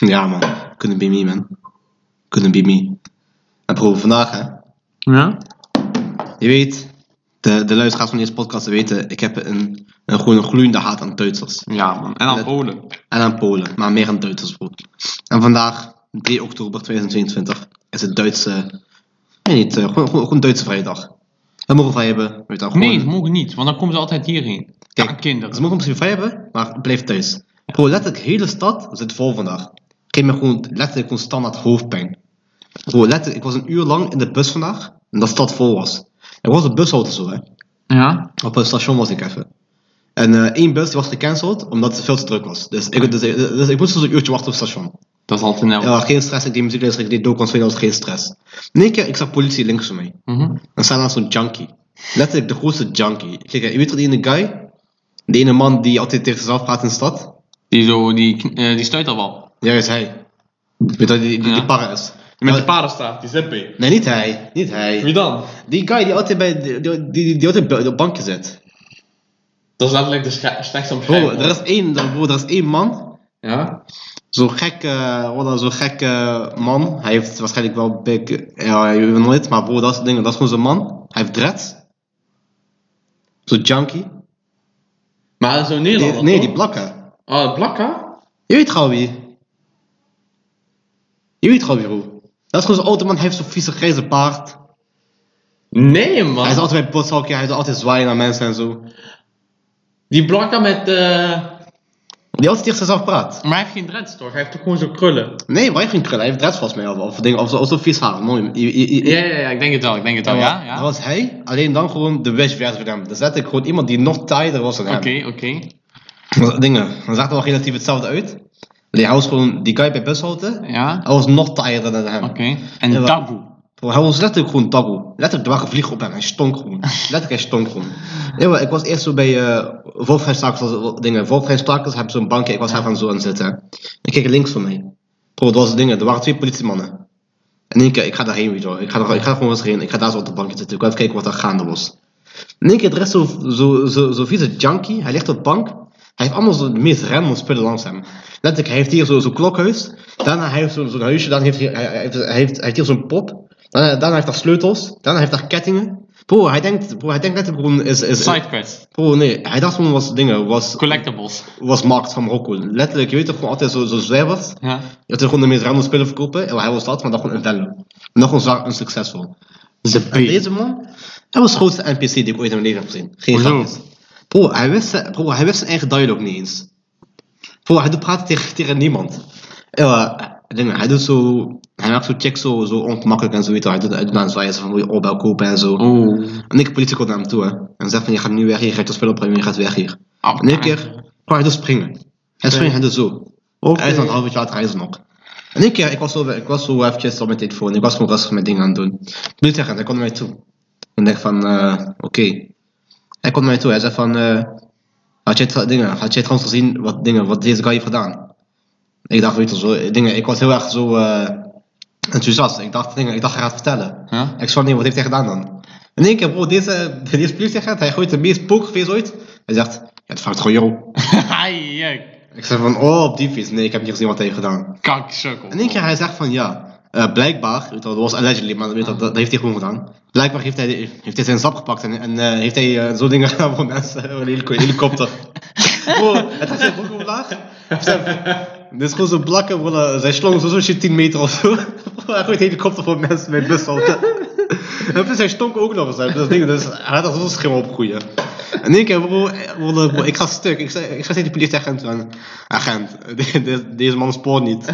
Ja, man. Couldn't be me, man. Couldn't be me. En bro, vandaag, hè.
Ja?
Je weet, de, de luisteraars van deze podcast weten, ik heb een, een, gewoon een gloeiende haat aan Duitsers.
Ja, man. En dan Polen.
En aan Polen, maar meer aan Duitsers bro. En vandaag, 3 oktober 2022, is het Duitse. Nee, niet, eh, gewoon, gewoon, gewoon Duitse vrijdag. We mogen vrij hebben, weet je wel, gewoon.
Nee, ze mogen niet, want dan komen ze altijd hierheen. Ja,
Kijk,
kinderen.
Ze mogen misschien vrij hebben, maar blijf thuis. Bro, letterlijk, de hele stad zit vol vandaag. Ik heb me gewoon letterlijk gewoon standaard hoofdpijn. Bro, letter, ik was een uur lang in de bus vandaag. En dat stad vol was. Er was een bushalte zo, hè.
Ja?
Op het station was ik even. En eh, één bus die was gecanceld omdat het veel te druk was. Dus ik, dus, ik- dus ik moest dus een uurtje wachten op het station.
Dat is altijd nou.
Ja, geen stress. Ik deed muziek luisteren, ik deed docu spelen, was geen stress. In één keer, ik zag politie links van mij.
Mhm.
En staan naast zo'n junkie. Letterlijk de grootste junkie. Kijk, eh, je weet toch die ene guy? Die ene man die altijd tegen zichzelf praat in de stad?
Die, zo, die, kn- eh, die snuit al wel.
Ja, is hij. Weet je dat die, die,
Ja.
die parra is?
Met
Ja,
die paardenstaart, die zippy.
Nee, niet hij. Niet hij.
Wie dan?
Die guy die altijd, bij, die, die, die, die altijd bij- op het bankje zit.
Dat is letterlijk de sche- slechtste
Bro,
omschrijving.
er is één, bro, er is één man
Ja?
Zo'n gek, eh, wallah, zo'n gek eh, man. Hij heeft waarschijnlijk wel big. Ja, je weet nooit, maar bro, dat soort dingen. Dat is gewoon zo'n man. Hij heeft dreads. Zo'n junkie.
Maar zo'n
Die-
Nederlander.
nee,
toch?
die blakken.
Oh, Blakka?
Je weet gewoon wie. Je weet gewoon wie, bro. Dat is gewoon zo'n oude man. Hij heeft zo'n vieze grijze paard.
Nee, man.
Hij is altijd bij botshockey. Hij is altijd zwaaien naar mensen en zo.
Die Blakka met. eh,
Die altijd tegen zichzelf praat.
Maar hij heeft geen dreads toch? Hij heeft toch gewoon zo'n krullen?
Nee, wij geen krullen. Hij heeft dreads volgens mij. Of, of, dingen, of, zo- of zo'n vies haar. Mooi. Je- je- je-
Ja, ja, ja, ik denk het wel, ik denk het wel. Ja,
Dat
ja.
was hij, alleen dan gewoon de wish versie van hem. Dan zette ik gewoon iemand die nog taaider was dan hem.
Oké, oké.
Dat- Dingen, dan zag er wel relatief hetzelfde uit. Die hij was gewoon, die guy bij bushalte,
Ja,
hij was nog taaider dan hem.
oké.
Ja,
En
wa-
Dagoe.
Bro, hij was letterlijk gewoon daggo. Letterlijk, er waren vliegen op hem, hij stonk gewoon. letterlijk, hij stonk gewoon. Nee, maar ik was eerst zo bij eh Wolfgeinstakers, dingen, Wolfgeinstakers hebben zo'n bankje, ik was daar van zo aan het zitten. Ik keek links van mij. Bro, dat was dingen, er waren twee politiemannen. En één keer, ik ga daarheen, weet je wel. Ik ga, daar, ik ga gewoon eens heen, ik ga daar zo op de bankje zitten, ik wil even kijken wat er gaande was. In één keer, er is zo'n zo, zo, zo vieze junkie. Hij ligt op de bank. Hij heeft allemaal zo de meest random spullen langs hem. Letterlijk, hij heeft hier zo- zo'n klokhuis. Daarna hij heeft zo'n zo'n huisje. Dan heeft hij, hij, hij heeft, hij, heeft, hij heeft hier zo'n pop. Daarna, daarna heeft hij sleutels. Daarna heeft hij kettingen. Bro, hij denkt, bro, hij denkt letterlijk gewoon is... is
Sidequest.
bro, nee. Hij dacht gewoon was dingen, was,
Collectibles.
was markt van Marokko. Letterlijk, je weet toch gewoon altijd zo- zo'n zwijvers.
Ja.
Dat hij gewoon de meest random spullen verkopen. En hij was dat, maar dan gewoon een vellen. En dan gewoon zwaar unsuccesvol.
Ze
En deze man, hij was de grootste NPC die ik ooit in mijn leven heb gezien. Geen
Hoezo?
grapjes. Bro, hij wist, zijn- bro, hij wist zijn eigen dialogue niet eens. Bro, hij doet praten tegen, tegen niemand. Ja, eh, dingen, hij doet zo, hij maakt zo check zo, zo ongemakkelijk en zo, weet je wel. Hij doet, hij doet aan zwaaien, zo van moet je oorbel kopen en
Oh.
zo.
Oeh.
En ik politie komt naar hem toe, hè. En zegt van, je gaat nu weg hier, je gaat je spel opruimen, je gaat weg hier.
Ah,
En één keer, bro, hij doet springen. Hij springt, hij doet zo.
Oké.
Hij is nog een half uurtje later, hij is er nog. En één keer, ik was zo, ik was zo eventjes op mijn telefoon, ik was gewoon rustig mijn dingen aan het doen. Nu tegen, hij komt naar mij toe. En ik denk van, eh, oké. Hij komt naar mij toe, hij zegt van, eh, had jij, tra- dingen, had jij trouwens gezien wat, dingen, wat deze guy heeft gedaan? Ik dacht, weet je wel, zo, dingen, ik was heel erg zo eh, enthousiast. Ik dacht, dingen, ik dacht, hij gaat vertellen.
Ja?
Ik zei, nee, wat heeft hij gedaan dan? In één keer, bro, deze, deze politieagent, hij gooit de meest pokerface ooit. Hij zegt, ja, het vangt gewoon jou.
Ai, jek.
Ik zeg van, oh, op die fiets. Nee, ik heb niet gezien wat hij heeft gedaan.
Kakkersuikel.
En één keer hij zegt van, ja, eh, blijkbaar, weet je wel, dat was allegedly, maar weet je wel, dat, dat heeft hij gewoon gedaan. Blijkbaar heeft hij, heeft hij zijn sap gepakt en, en eh, heeft hij eh, zo dingen gedaan voor mensen, een helico- helikopter. Bro, het gaat zijn broek omlaag. Dit is gewoon zo'n blakken, bro, eh, zijn slong zo zo'n shit 10 meter of zo. Bro, hij gooit helikopter voor mensen met bushalte. En plus hij stonk ook nog eens uit, dat ding, dus hij had er zo'n schimmel op groeien. En ik heb bro, eh, bro, bro, ik ga stuk. Ik, zei- ik ga tegen die politieagent van, agent, de- de- deze man spoort niet.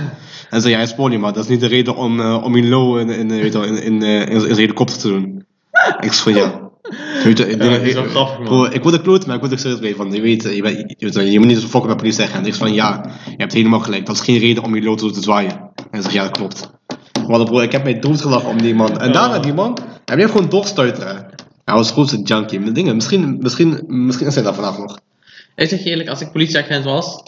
En zei, ja, hij spoort niet, maar dat is niet de reden om, eh, om in low in, in, eh, weet je wel, in, in, eh, in, in zijn helikopter te doen. Ik zei van, ja. Weet je, ik,
Ja,
denk-
dat is wel
ik-
grappig, man.
bro, ik word een kloot, maar ik word ook serieus mee van, je weet, je, bent- je, weet wel, je moet niet zo fokken met politieagent. Ik zei van, ja, je hebt helemaal gelijk. Dat is geen reden om in low te doen te zwaaien. En hij zegt, ja, dat klopt. Wat bro, ik heb mij doodgelachen om die man. En daarna die man, hij bleef gewoon doorstuiteren. Hij was goed een junkie. Maar dingen, misschien, misschien, misschien is hij daar vandaag nog.
Ik zeg je eerlijk, als ik politieagent was,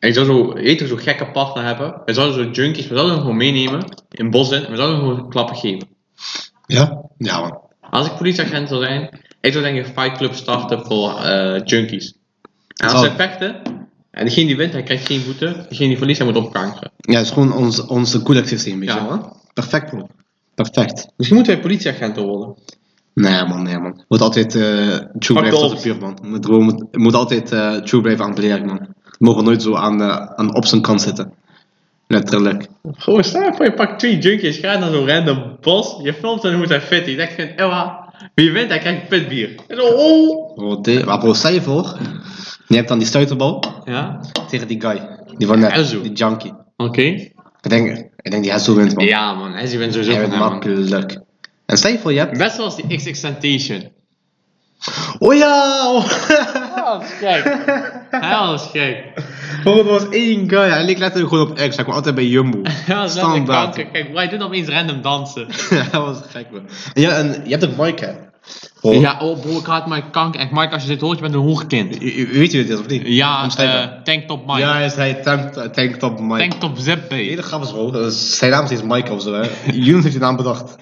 ik zou zo, je weet toch, zo'n gekke partner hebben. We zouden zo'n junkies, we zouden hem gewoon meenemen in bossen en we zouden hem gewoon klappen geven.
Ja? Ja man.
Als ik politieagent zou zijn, ik zou denk ik een fightclub starten voor eh, junkies. En als
Zou-
ze vechten, en degene die wint, hij krijgt geen boete. Degene die verliest, hij moet opkankeren.
Ja, het is gewoon ons, ons collectiesysteem, weet
Ja, Dus
je wel.
man.
Perfect bro. Perfect.
Misschien moeten wij politieagenten worden.
Nee man, nee man. Moet altijd eh, true blijven tot de
Ops.
puur man. Moet, gewoon- moet, moet altijd eh, true blijven aan het beleid man. We mogen nooit zo aan, eh, aan op zijn kant zitten. Letterlijk.
Gewoon, stel je voor, je pakt twee junkies, ga naar zo'n random bos, je filmt en hoe hij fit. Je denkt van, ewa, wie wint, hij krijgt pitbier. En zo, oh!
Bro, de- Maar bro, stel je voor. Je hebt dan die stuiterbal
Ja,
tegen die guy. Die van net,
Enzo.
die junkie.
oké.
Ik denk, Ik denk die Hessel wint, man.
Ja, man. Hezzy wint sowieso
Hij
van
wint
hem, man.
makkelijk. En stel je voor, je hebt...
Best zoals die XX Temptation.
Oh ja! Oh.
Hel is gek. Hel is gek.
Bro, er Oh, was één guy, hij leek letterlijk gewoon op X. Hij kwam altijd bij Jumbo.
Hel is letterlijk
Standaard.
kanker. Kijk, wij doen opeens random dansen.
Ja, dat was gek, man. En, ja, en je hebt ook Mike, hè? Bro,
Ja, oh bro, ik haat mijn kanker. Echt, Mike, als je dit hoort, je bent een hoogkind.
u- u- Weet je dit of niet?
Ja,
Omschrijven.
eh, tanktop Mike.
ja, hij is hij tank, eh, tanktop Mike.
Tanktop
De
Zippy.
hele grap is bro, dat is- eh, zijn naam is steeds Mike of zo, hè? Younes heeft die naam bedacht.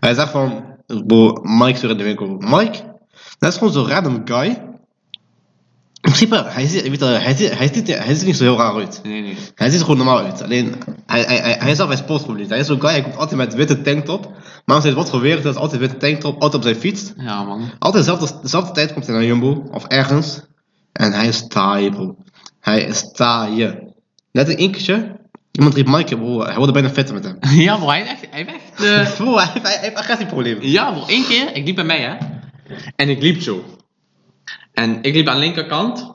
Hij zegt van, bro, Mike is weer in de winkel. Mike? Dat is gewoon zo'n random guy. In principe, hij ziet, weet je, hij, ziet, hij, ziet, hij ziet er niet zo heel raar uit.
Nee, nee.
Hij ziet er gewoon normaal uit. Alleen, hij, hij, hij, hij is zelf, hij sport gewoon niet. Hij is zo'n guy, hij komt altijd met witte tanktop. Maar als hij wordt geweerd, dat is altijd witte tanktop, altijd op zijn fiets.
Ja, man.
Altijd dezelfde, dezelfde tijd komt hij naar Jumbo, of ergens. En hij is taai, bro. Hij is taai. Net een inkertje, iemand riep Mike, bro. Hij wilde bijna vetten met hem.
Ja, bro, hij heeft echt... Hij heeft echt eh,
Bro, hij heeft, hij heeft agressieproblemen.
Ja, bro, één keer, ik liep bij mij, hè. En ik liep zo. En ik liep aan de linkerkant.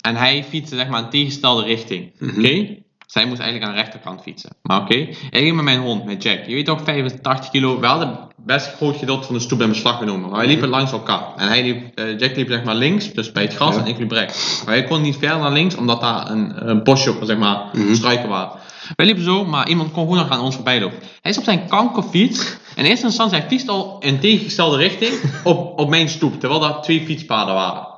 En hij fietste, zeg maar, in tegenstelde richting. Oké? Zij moest eigenlijk aan de rechterkant fietsen. Maar oké. Ik ging met mijn hond, met Jack. Je weet ook, 85 kilo. We hadden best groot gedeelte van de stoep in beslag genomen. Maar wij liepen langs elkaar. En hij liep, eh, Jack liep, zeg maar, links, dus bij het gras.
Ja.
En ik liep rechts. Maar hij kon niet verder naar links, omdat daar een, een bosje op, zeg maar, struiken waren. Wij liepen zo, maar iemand kon gewoon nog aan ons voorbij lopen. Hij is op zijn kankerfiets. In eerste instantie, hij fietst al in tegengestelde richting op, op mijn stoep. Terwijl daar twee fietspaden waren.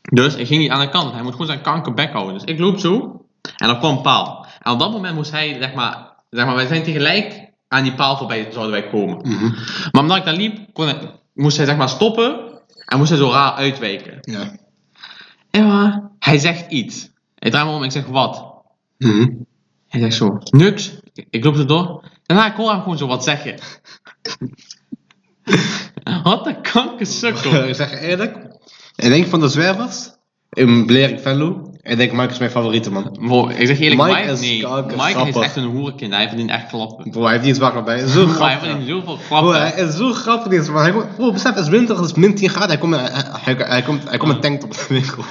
Dus ik ging niet aan de kant. Hij moest gewoon zijn kankerbek houden. Dus ik loop zo. En dan kwam een paal. En op dat moment moest hij, zeg maar... Zeg maar wij zijn tegelijk aan die paal voorbij zouden wij komen.
Mhm.
Maar omdat ik daar liep, kon ik, moest hij zeg maar stoppen. En moest hij zo raar uitwijken.
Ja.
Emma, hij zegt iets. Ik draai me om, ik zeg wat?
Mhm.
Hij zegt zo, niks. Ik loop zo door. Daarna ik hoor hem gewoon zo wat zeggen. wat een kankersukkel.
ik zeg je eerlijk, ik denk van de zwervers, in Blerik Venlo, ik denk Mike is mijn favoriete man.
Wow, ik zeg eerlijk,
Mike
Mike,
is
nee.
kankergrappig.
Mike is echt een hoerenkind. Hij verdient echt klappen.
Bro, hij heeft niet zwaar bij. Hij is Zo
Maar hij
grappig.
verdient zoveel
Bro,
klappen.
Oh, hij is zo grappig deze man. Hij komt, bro, besef, het is winter, het is min 10 graden. Hij komt, met- hij, hij, hij komt, hij komt met tanktop de winkel.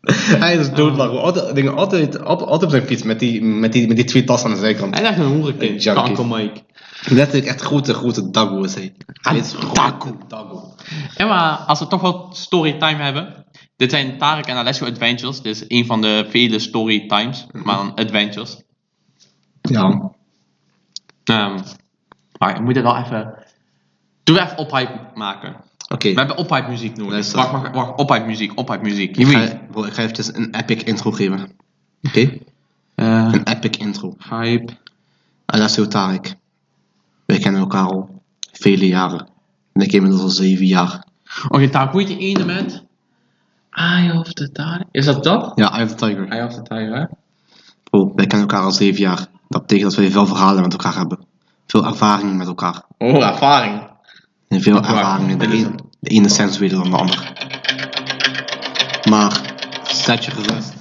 hij is doodlang. bro. Altijd, dingen, altijd, op- altijd op zijn fiets met die, met die, met die twee tassen aan de zijkant.
Hij is echt een
Een
hoerenkind.
junkie.
Kanker Mike.
Letterlijk echt grote, grote dagoe is hij. Hij is
Een
grote
dagoe.
dagoe.
Emma, als we toch wat storytime hebben. Dit zijn Tarek en Alessio Adventures. Dit is een van de vele storytimes. Maar dan adventures.
Ja.
Ehm, maar ik moet het wel even. Doe even ophype maken.
Oké.
We hebben ophype muziek nodig.
Luister.
Wacht, wacht, wacht. Ophype muziek, ophype muziek.
Ik
Je
ga,
weet.
bro, ik ga eventjes een epic intro geven. Oké? Een epic intro.
eh, hype.
Alessio Tarek. Wij kennen elkaar al vele jaren. En ik inmiddels al zeven jaar.
Oké, Taak, hoe heet die ene met? Eye of the Tiger. Is dat dat?
Ja, I have the Tiger.
Eye of the Tiger, hè?
Oh, wij kennen elkaar al zeven jaar. Dat betekent dat wij veel verhalen met elkaar hebben. Veel ervaringen met elkaar.
Oh, ervaring.
En veel
Dat is waar.
ervaringen. De
Dat is
een, de ene sens weer dan de ander. Maar, zet je gerust.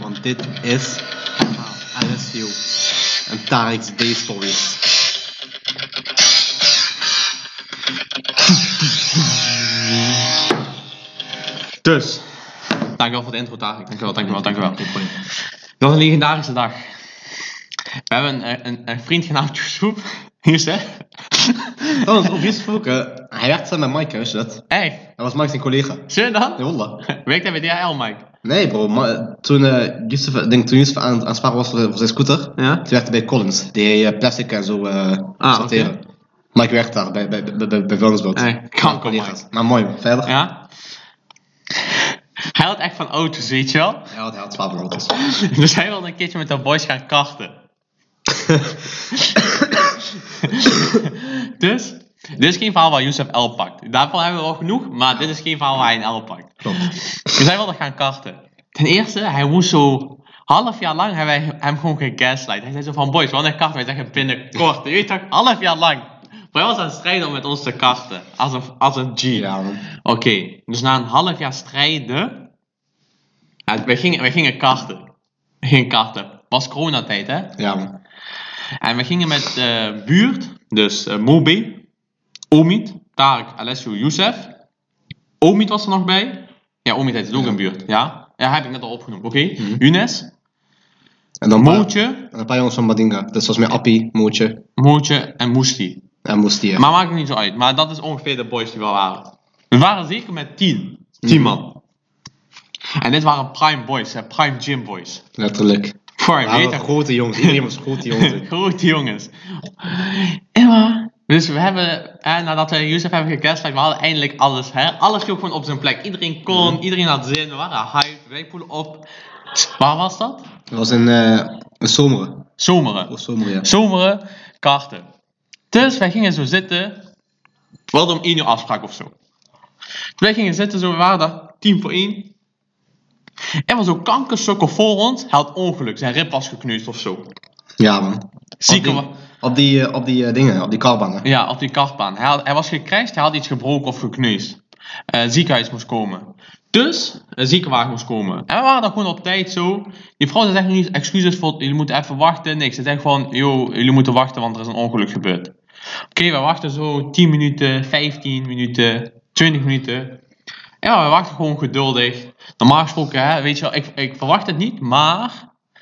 Want dit is Alessio en Tarek's Day Stories.
Dus. Dankjewel voor de intro, Tarek. Dankjewel, dankjewel, dankjewel. Dat was een legendarische dag. We hebben een, een, een vriend genaamd Joeshoep. Hier is hij.
Trouwens, op Facebook, eh, hij werkt samen met Mike, hè, wist je dat?
Echt?
Hij was Mike zijn collega.
Zie je dan?
Nee, wallah.
Werkt hij bij DHL, Mike?
Nee bro, maar toen, eh Yusuf, ik denk, toen Yusuf aan aan het sparen was voor voor zijn scooter,
Ja.
Toen werkte bij Collins, die eh, plastic en zo eh
Ah,
sorteren. Maar ik werkte daar bij, bij, bij, bij, bij Vuilnisbelt.
Nee, kanker, Mike.
Maar mooi man, verder.
Ja. Hij had echt van auto's, weet je wel?
Hij had, hij had zwaar van auto's.
Dus hij wilde een keertje met de boys gaan karten. dus, dit is geen verhaal waar Youssef L pakt. Daarvan hebben we al genoeg, maar dit is geen verhaal waar hij een L pakt.
Klopt.
Dus hij wilde gaan karten. Ten eerste, hij moest zo... Half jaar lang hebben wij hem gewoon gegaslight. Hij zei zo van, boys, wanneer karten? Wij zeggen binnenkort. Je weet toch, half jaar lang. Maar hij was aan het strijden om met ons te karten. Als een, als een G.
Ja man.
Oké, dus na een half jaar strijden. Ja, we, gingen, we gingen karten. We gingen karten. Was coronatijd, hè?
Ja man.
En we gingen met eh buurt, dus eh, Mobi, Omid, Tarek, Alessio, Youssef. Omid was er nog Mhm. bij. Ja, Omid heet het ook een buurt, ja. Ja, heb ik net al opgenoemd, oké. Younes.
En dan, en
Mootje,
dan een paar jongens van Badinga. Dus volgens mij Appie, Mootje
Mootje en Moesli.
en Moestier.
Maar maakt niet zo uit. Maar dat is ongeveer de boys die we waren. We waren zeker met tien. Tien man. En dit waren prime boys, hè. prime gym boys.
Letterlijk.
Prime,
Ja,
weet
maar
je?
grote jongens. Iedereen was grote jongens.
Grote jongens. Emma. Dus we hebben, eh, nadat we Jozef hebben gecastlike, we hadden eindelijk alles. Hè? Alles viel gewoon op zijn plek. Iedereen kon, iedereen had zin, we waren hyped, wij poelen op. Waar was dat?
Het was een, eh een zomeren.
Zomeren.
Of zomer, ja.
Zomeren, kaarten. Dus wij gingen zo zitten. We hadden om 1 uur afspraak of zo. Wij gingen zitten, zo, we waren daar 10 voor 1. Er was ook kankersukkel voor ons. Hij had ongeluk, zijn rib was gekneusd of zo.
Ja, man.
Zieke
op die,
wa-
op die, eh, op die eh, dingen, op die karbanen.
Ja, op die kartbaan. Hij, had- hij was gekrijsd, hij had iets gebroken of gekneusd. Eh ziekenhuis moest komen. Dus, een ziekenwagen moest komen. En we waren dan gewoon op tijd zo. Die vrouw zei echt niet excuses voor, jullie moeten even wachten, niks. Ze zegt gewoon, yo, jullie moeten wachten, want er is een ongeluk gebeurd. Oké, we wachten zo 10 minuten, 15 minuten, 20 minuten. Ja, we wachten gewoon geduldig. Normaal gesproken, hè, weet je wel, ik, ik verwacht het niet, maar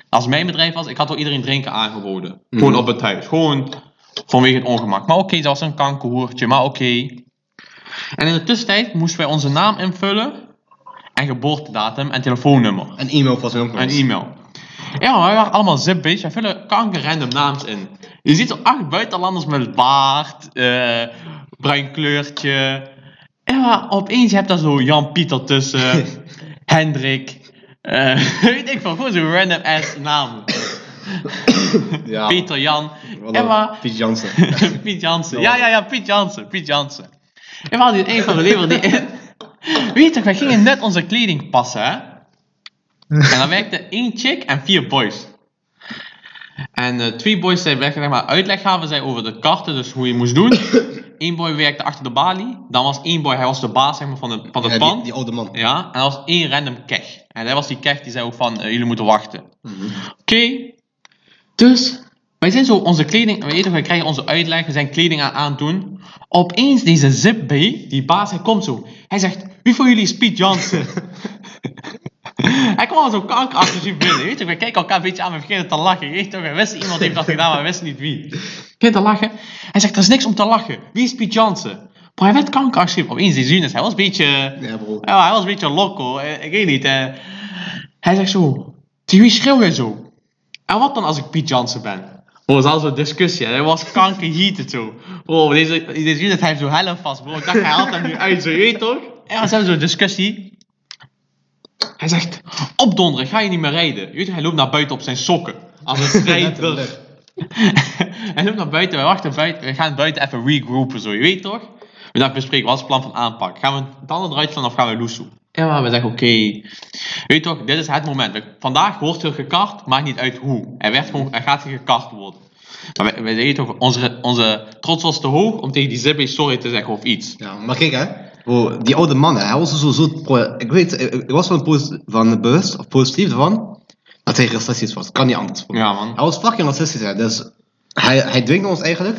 als mijn bedrijf was, ik had wel iedereen drinken aangeboden. Gewoon
Mhm.
op het huis. Gewoon vanwege het ongemak. Maar oké, dat was een kankerhoertje, maar oké. En in de tussentijd moesten wij onze naam invullen. En geboortedatum en telefoonnummer.
En e-mail was er ook nog
En
eens.
e-mail. Ja, maar wij waren allemaal zip, bitch. Wij vullen kanker random naams in. Je ziet er acht buitenlanders met baard, eh, bruin kleurtje. Ja, maar opeens heb je daar zo Jan-Pieter tussen, Hendrik. eh, weet ik veel, gewoon zo'n random ass naam.
Ja.
Peter Jan.
Wat
Ja,
een-
maar
Piet Jansen.
Piet Jansen. Ja, ja, ja, Piet Jansen. Piet Jansen. En we hadden een van de lever die in. Weet toch, wij gingen net onze kleding passen, hè? En dan werkte één chick en vier boys. En eh, twee boys zijn weg, zeg maar, uitleg gaven zij over de karten, dus hoe je moest doen. Eén boy werkte achter de balie. Dan was één boy, hij was de baas zeg maar, van het, van het
Ja, die,
pand.
die oude man.
Ja, en er was één random kech. En dat was die kech die zei ook van, eh, jullie moeten wachten. Oké. Dus, wij zijn zo onze kleding, we, wij krijgen onze uitleg, we zijn kleding aan aandoen. Opeens deze zip bij, die baas, hij komt zo. Hij zegt, wie van jullie is Piet Jansen? hij kwam al zo kankeractief binnen, weet je. Wij kijken elkaar een beetje aan, we beginnen te lachen. Weet je, we wisten iemand heeft dat gedaan, maar we wisten niet wie. We beginnen te lachen. Hij zegt, er is niks om te lachen. Wie is Piet Jansen? Maar hij werd kankeractief. Opeens die zunis, hij was een beetje...
Ja, bro.
Ja, hij was een beetje loco, eh, ik weet niet. eh. Hij zegt zo, tegen wie schreeuw jij zo? En wat dan als ik Piet Jansen ben? Oh, dat was zo'n discussie. Hij was kankerheated zo. Oh, deze, deze unit heeft zo helft vast, bro. Ik dacht, hij haalt hem nu uit, zo, je weet toch? En ze hebben zo'n discussie. Hij zegt, opdonderen, ga je niet meer rijden. Je weet toch, hij loopt naar buiten op zijn sokken. Als een strijder.
Letterlijk.
en loop naar buiten, we wachten buiten, we gaan buiten even regroupen zo, je weet toch? We dachten bespreken, wat is het plan van aanpak? Gaan we tanden eruit slaan of gaan we loesoe? Ja, maar we zeggen oké. Weet toch, dit is het moment. We- Vandaag wordt er gekart, maakt niet uit hoe. Er, werd gewoon, er gaat gekart worden. Maar wij, wij deden toch, onze, onze trots was te hoog om tegen die zippy sorry te zeggen of iets.
Ja, maar kijk hè. Bro, die oude man, hè, hij was zo zo... pro- Ik weet, eh, ik, ik was van, posit- van bewust, of positief ervan, dat hij racistisch was. Kan niet anders. bro.
Ja, man.
Hij was fucking racistisch, hè. Dus hij, hij dwingt ons eigenlijk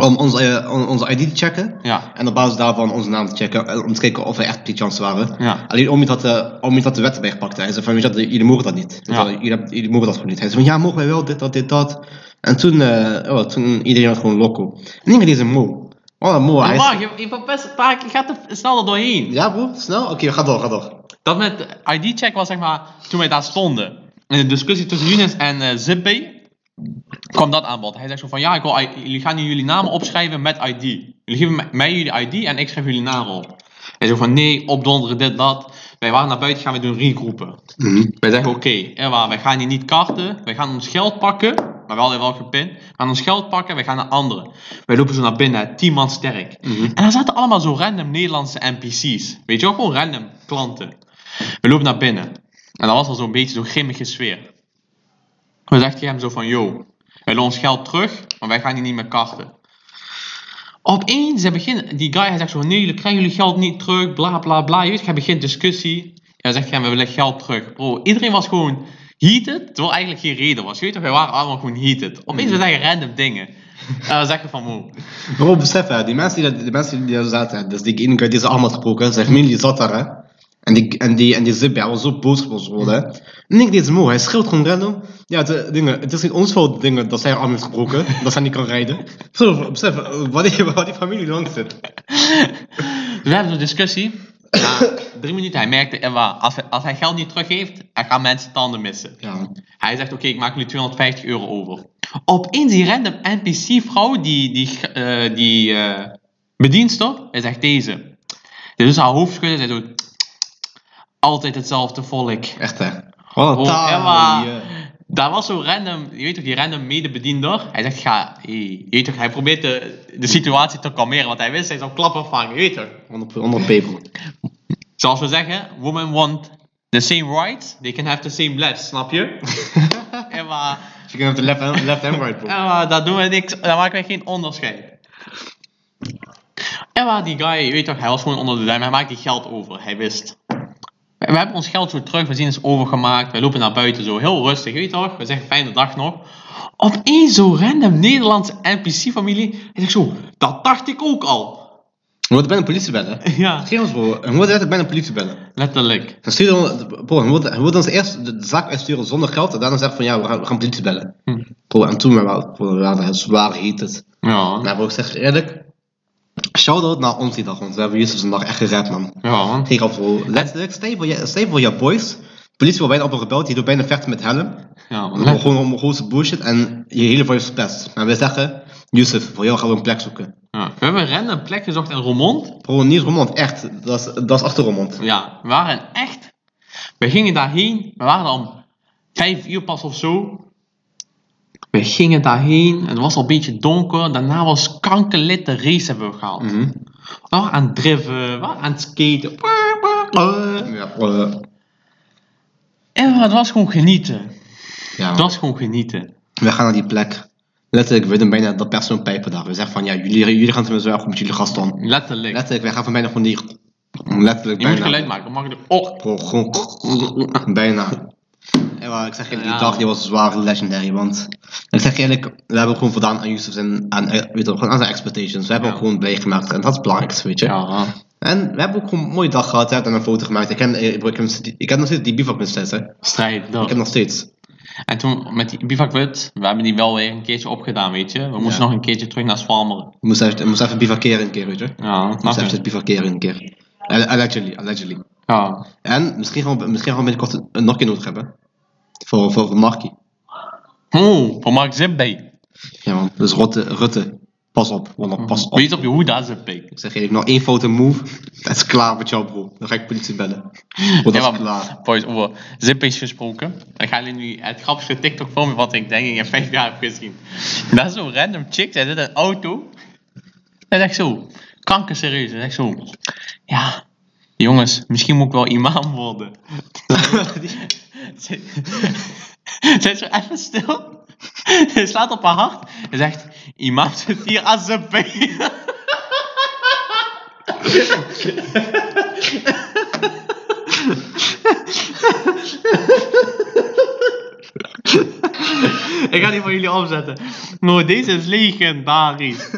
om onze, eh, on- onze ID te checken.
Ja.
En op basis daarvan onze naam te checken. En om te kijken of wij echt Piet Jansen waren.
Ja.
Alleen Omid had, eh, Omid had de wet erbij gepakt. Hij zei van, weet je wat, jullie mogen dat niet. Dus
Ja.
dat- jullie, hebben- jullie mogen dat gewoon niet. Hij zei van, ja, mogen wij wel, dit, dat, dit, dat. En toen, eh, oh, toen iedereen was gewoon loco. En ik deze Mo. Oh, Mo, hij
Maar
is...
wacht, je, je, verpest een paar keer, je gaat er snel er doorheen.
Ja, bro, snel? Oké, ga door, ga door.
Dat met ID-check was zeg maar toen wij daar stonden. In de discussie tussen Younes en eh Zippy kwam dat aan bod. Hij zegt zo van ja, ik wil, I- jullie gaan nu jullie namen opschrijven met ID. Jullie geven mij- mij jullie ID en ik schrijf jullie namen op. Hij zegt van nee, opdonderen dit, dat. Wij waren naar buiten, gaan we doen regroepen. Wij zeggen oké, eh, waar, wij gaan hier niet karten, wij gaan ons geld pakken, maar wel in welke pin. We gaan ons geld pakken, wij gaan naar anderen. Wij lopen zo naar binnen, hè, tien man sterk. En daar zaten allemaal zo random Nederlandse NPC's. Weet je wel, gewoon random klanten. We lopen naar binnen. En dat was al zo'n beetje zo'n grimmige sfeer. We zeggen tegen hem zo van, yo, wij willen ons geld terug, maar wij gaan hier niet meer karten. Opeens, hij begint, die guy, hij zegt zo, nee, jullie krijgen jullie geld niet terug, bla bla bla. Je weet, hij begint discussie. En hij zegt, ja, we willen geld terug. Bro, iedereen was gewoon heated, terwijl eigenlijk geen reden was. Je weet toch, wij waren allemaal gewoon heated. Opeens, we zeggen random dingen. En we zeggen van, wow.
Bro, besef hè, die mensen die, daar- die, mensen die daar zaten, hè, dus die ene guy die ze allemaal had gebroken, zijn familie zat daar hè. En die, en die, en die Zibbe, hij was zo boos op ons geworden. hè. En ik deed moe, hij schreeuwt gewoon random. Ja, de, dingen, het is niet ons fout dingen, dat zijn arm heeft gebroken, dat zij niet kan rijden. Besef, besef eh, waar, die, waar die familie langs zit.
Dus we hebben zo'n discussie. Na drie minuten, hij merkte, Emma, als hij, als hij geld niet teruggeeft, dan gaan mensen tanden missen.
Ja.
Hij zegt, oké, ik maak nu 250 euro over. Opeens die random NPC-vrouw, die, die, eh die eh bedienster, hij zegt deze. Dus haar hoofd schudden, zij doet... Altijd hetzelfde volk.
Echt hè. Wat een
Oh,
taal.
Emma.
die, eh.
Daar was zo'n random, je weet toch, die random medebediender. Hij zegt, ga, hey. je weet toch, hij probeert de, de situatie te kalmeren, want hij wist, hij zou klappen vangen, je weet toch.
Onder, onder pepel.
Zoals we zeggen, women want the same rights, they can have the same left, snap je? en maar,
Ze kunnen op de left hand, left hand right, bro.
en maar daar doen we niks, daar maken wij geen onderscheid. En maar die guy, je weet toch, hij was gewoon onder de duim, hij maakte geld over, hij wist. We hebben ons geld zo terug, we zien is overgemaakt, wij lopen naar buiten zo, heel rustig, je weet toch, we zeggen fijne dag nog. Opeens zo random Nederlandse NPC-familie, hij zegt zo, dat dacht ik ook al.
We moeten bijna de politie bellen.
Ja,
Geen ons bro, we moeten letterlijk bijna de politie bellen.
letterlijk.
Dan sturen we, bro, we moeten, we moeten ons eerst de zaak uitsturen zonder geld en daarna zeggen van ja, we gaan, we gaan de politie bellen.
Hm.
Bro, en toen waren we, we waren heel zwaar heet het.
Ja,
Nou, bro, ik zeg eerlijk, shout-out naar ons die dag, want we hebben Yusuf een dag echt gered, man.
ja.
Geen grap, bro. Letterlijk, stel je voor je- stel je voor je boys, politie wordt bijna op een gebeld, die doet bijna vechten met helm.
Ja,
Gewoon gewoon om grootste bullshit en je hele voice verpest. En wij zeggen, Yusuf, voor jou gaan we een plek zoeken.
Ja, we hebben een random plek gezocht in Roermond.
Bro, niet Roermond, echt. Dat is, dat is achter Roermond.
Ja, we waren echt... We gingen daarheen. We waren om vijf uur pas of zo. We gingen daarheen. Het was al een beetje donker. Daarna was kankerlid de race hebben we gehaald.
Mhm.
We waren aan het driven. We waren aan het skaten.
Ja, eh,
En het was gewoon genieten.
ja.
Het was gewoon genieten.
We gaan naar die plek. Letterlijk, we doen bijna dat persoon pijpen daar. We zeggen van, ja, jullie, jullie gaan tenminste wel goed met jullie gast om.
Letterlijk.
Letterlijk, wij gaan van bijna gewoon die... Letterlijk,
Je moet
bijna.
geluid maken. Dan mag je de... Oh.
Bro, gewoon... bijna. En maar ik zeg eerlijk, die
Ja.
dag die was zwaar legendary, want... Ik zeg eerlijk, we hebben gewoon voldaan aan Yusuf en aan, eh, weet je, wel, gewoon aan zijn expectations. We hebben
Ja.
hem gewoon blij gemaakt en dat is het belangrijkste, weet je.
Ja.
En we hebben ook gewoon een mooie dag gehad, we hebben een foto gemaakt. Ik heb, eh, bro, ik heb, ik heb nog steeds die bivakmistess, hè.
Strijd.
Ik heb nog steeds.
En toen met die bivakbut, we hebben die wel weer een keertje opgedaan, weet je. We moesten
Ja.
nog een keertje terug naar Zwalmeren.
Ik moest even, ik moest even bivakeren een keer, weet je.
Ja,
Ik moest
snap je?
even bivakeren een keer. Alle- Allegedly, allegedly.
Ja.
En misschien gaan we, misschien gaan we binnenkort een nokje nodig hebben. Voor, voor Markie.
Oh, voor Mark Zipbay.
Ja man, dus Rutte, Rutte. Pas op, Wonder, pas op.
Weet op je hoe dat Zipbay.
Ik zeg eerlijk, nog één foto move. Dat is klaar met jou bro. Dan ga ik politie bellen. Bro, dat
Ja,
is
maar-
klaar.
Boys, over Zipbays gesproken. Ik ga jullie nu het grappigste TikTok filmen wat ik denk ik in vijf jaar heb gezien. Dat is zo'n random chick, zij zit in een auto. En zegt zo, kanker serieus. En zegt zo, ja, jongens, misschien moet ik wel imam worden. Ze- Zij is zo even stil. Ze slaat op haar hart en zegt: Imam zit hier als een pijn. Ik ga die voor jullie opzetten. Nou, deze is legendarisch.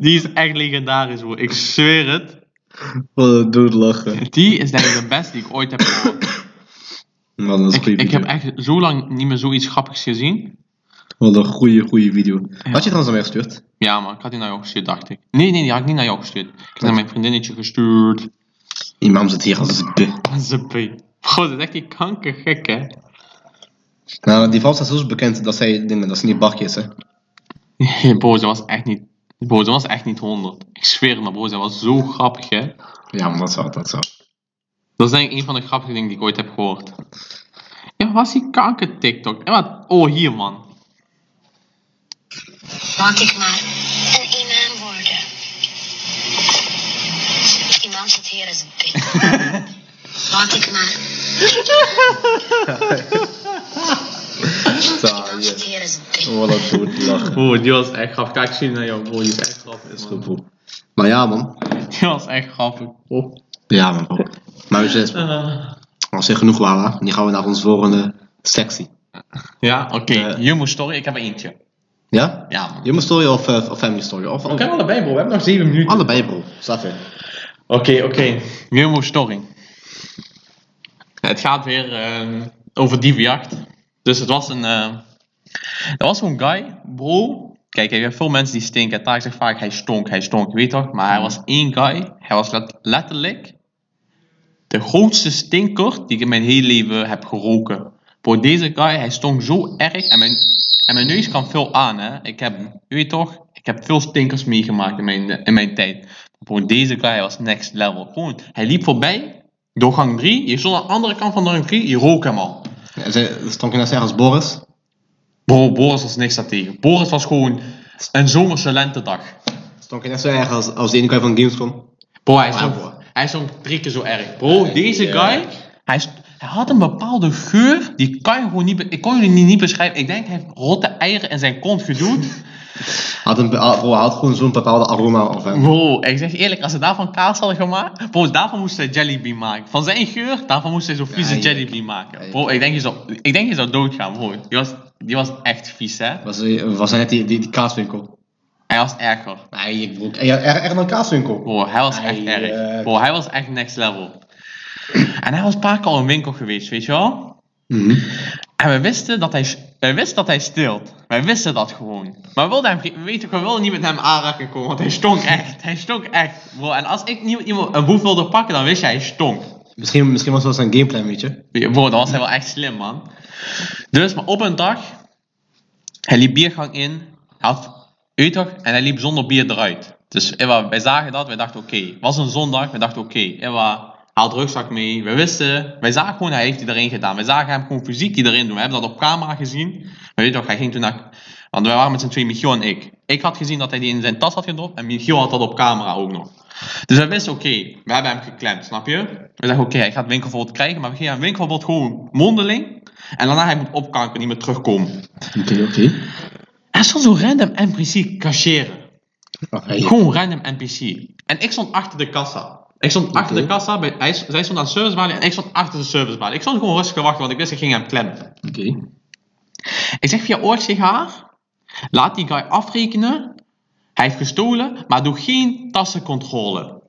Die is echt legendarisch, hoor. Ik zweer het.
Wat een dude lachen.
Die is denk ik de beste die ik ooit heb gehoord.
Man, dat is een goede
Ik
video.
heb echt zo lang niet meer zoiets grappigs gezien.
Wat een goede, goede video. Had je trouwens al meegestuurd?
Ja, maar ik had die naar jou gestuurd, dacht ik. Nee, nee, die had ik niet naar jou gestuurd. Ik heb naar mijn vriendinnetje gestuurd.
Imam zit hier als een b.
Zippie. God, dat is echt die kankergek, hè?
Nou, die vrouw staat zo bekend dat zij dingen, dat ze niet bakje is, hè.
Nee, Boze was echt niet... Boze was echt niet 100. Ik zweer het, maar Boze was zo grappig, hè?
Ja, maar dat is wel, dat is wel.
Dat is denk ik een van de grappige dingen die ik ooit heb gehoord. Ja, was die kanker TikTok? En wat? Oh, hier, man.
Mag ik maar een imam worden? Imam zit hier als een pik. Mag ik maar.
Zo,
Imam zit hier als een pik.
Wat een goed lachen.
Oh, die was echt grappig. Kijk, ik zie naar jou. Oh, die is echt grappig, man.
Gevoel. Maar ja, man.
Die was echt grappig. Oh.
Ja, man. bro. Maar weet je, het is-
Eh,
als er genoeg waren, dan gaan we naar ons volgende sectie.
ja, oké.
Eh.
Jumbo story. Ik heb er eentje.
Ja?
Ja, man.
Human story of, eh, of family story? Of,
We
of-
kunnen allebei, bro. We hebben nog 7 minuten.
Allebei, bro. Snap je?
Oké, oké. Jumbo Story. Het gaat weer ehm, over dievenjacht. Dus het was een. eh, er was zo'n guy, bro. Kijk, je hebt veel mensen die stinken. Taak zegt vaak: hij stonk, hij stonk, je weet toch? Maar hij was één guy. Hij was let- letterlijk de grootste stinker die ik in mijn hele leven heb geroken. Bro, deze guy, hij stonk zo erg. En mijn, en mijn neus kan veel aan, hè? Ik heb, je weet toch? Ik heb veel stinkers meegemaakt in mijn, in mijn tijd. Bro, deze guy was next level. Gewoon, hij liep voorbij, doorgang 3. Je stond aan de andere kant van doorgang 3, je rook hem al.
Ja, ze stond je net zeggen als Boris.
Bro, Boris was niks daartegen. Boris was gewoon een zomerse lentedag.
Stond je net zo erg als, als de ene guy van Gamescom.
Bro, hij is,
Wauw,
ook-
bro.
hij is ook drie keer zo erg. Bro, deze
ja.
guy, hij, is- hij had een bepaalde geur, die kan je gewoon niet, be- ik kon jullie niet, niet beschrijven. Ik denk, hij heeft rotte eieren in zijn kont gedoet.
Had een, be- ah, bro, hij had gewoon zo'n bepaalde aroma of hem.
Bro, ik zeg eerlijk, als ze daarvan kaas hadden gemaakt, bro, daarvan moest hij jellybean maken. Van zijn geur, daarvan moest hij zo'n vieze
Ja, je-
jellybean maken.
ja,
Bro, ik denk je zou, ik denk je zou doodgaan, bro. Die was, die was echt vies, hè.
Was, was hij net die, die, die kaaswinkel?
Hij was erger.
Nee, ik broek. Hij had echt echt een kaaswinkel.
Bro, hij was echt
Ai,
erg.
eh.
Bro, hij was echt next level. En hij was een paar keer al in winkel geweest, weet je wel? En we wisten dat hij, wij wisten dat hij steelt. Wij wisten dat gewoon. Maar we wilden hem, ge- we weten, we wilden niet met hem aanraken komen, want hij stonk echt. Hij stonk echt. Bro, en als ik niet iemand een boef wilde pakken, dan wist je, hij stonk.
Misschien, misschien was dat zijn gameplan, weet je.
Bro, dan was hij wel echt slim, man. Dus, maar op een dag, hij liep biergang in, hij had, weet je toch, en hij liep zonder bier eruit. Dus Ewa, wij zagen dat, wij dachten, oké, het was een zondag, wij dachten, oké, Ewa, haal de rugzak mee. We wisten, wij zagen gewoon, hij heeft die erin gedaan. Wij zagen hem gewoon fysiek die erin doen. We hebben dat op camera gezien. Maar weet je toch, hij ging toen naar, want wij waren met z'n twee, Michiel en ik. Ik had gezien dat hij die in zijn tas had gedropt en Michiel had dat op camera ook nog. Dus wij wisten, oké, we hebben hem geklemd, snap je? We zeggen, oké, hij gaat winkelverbod krijgen, maar we geven hem winkelverbod gewoon mondeling. En daarna hij moet opkanken, niet meer terugkomen.
Oké, oké.
Er stond zo'n random NPC cacheren. Gewoon random NPC. En ik stond achter de kassa. Ik stond achter de kassa, bij, hij, zij stond aan de servicebalie en ik stond achter de servicebalie. Ik stond gewoon rustig te wachten, want ik wist ik ging hem klemmen.
Oké.
Ik zeg via oor tegen haar, laat die guy afrekenen. Hij heeft gestolen, maar doe geen tassencontrole.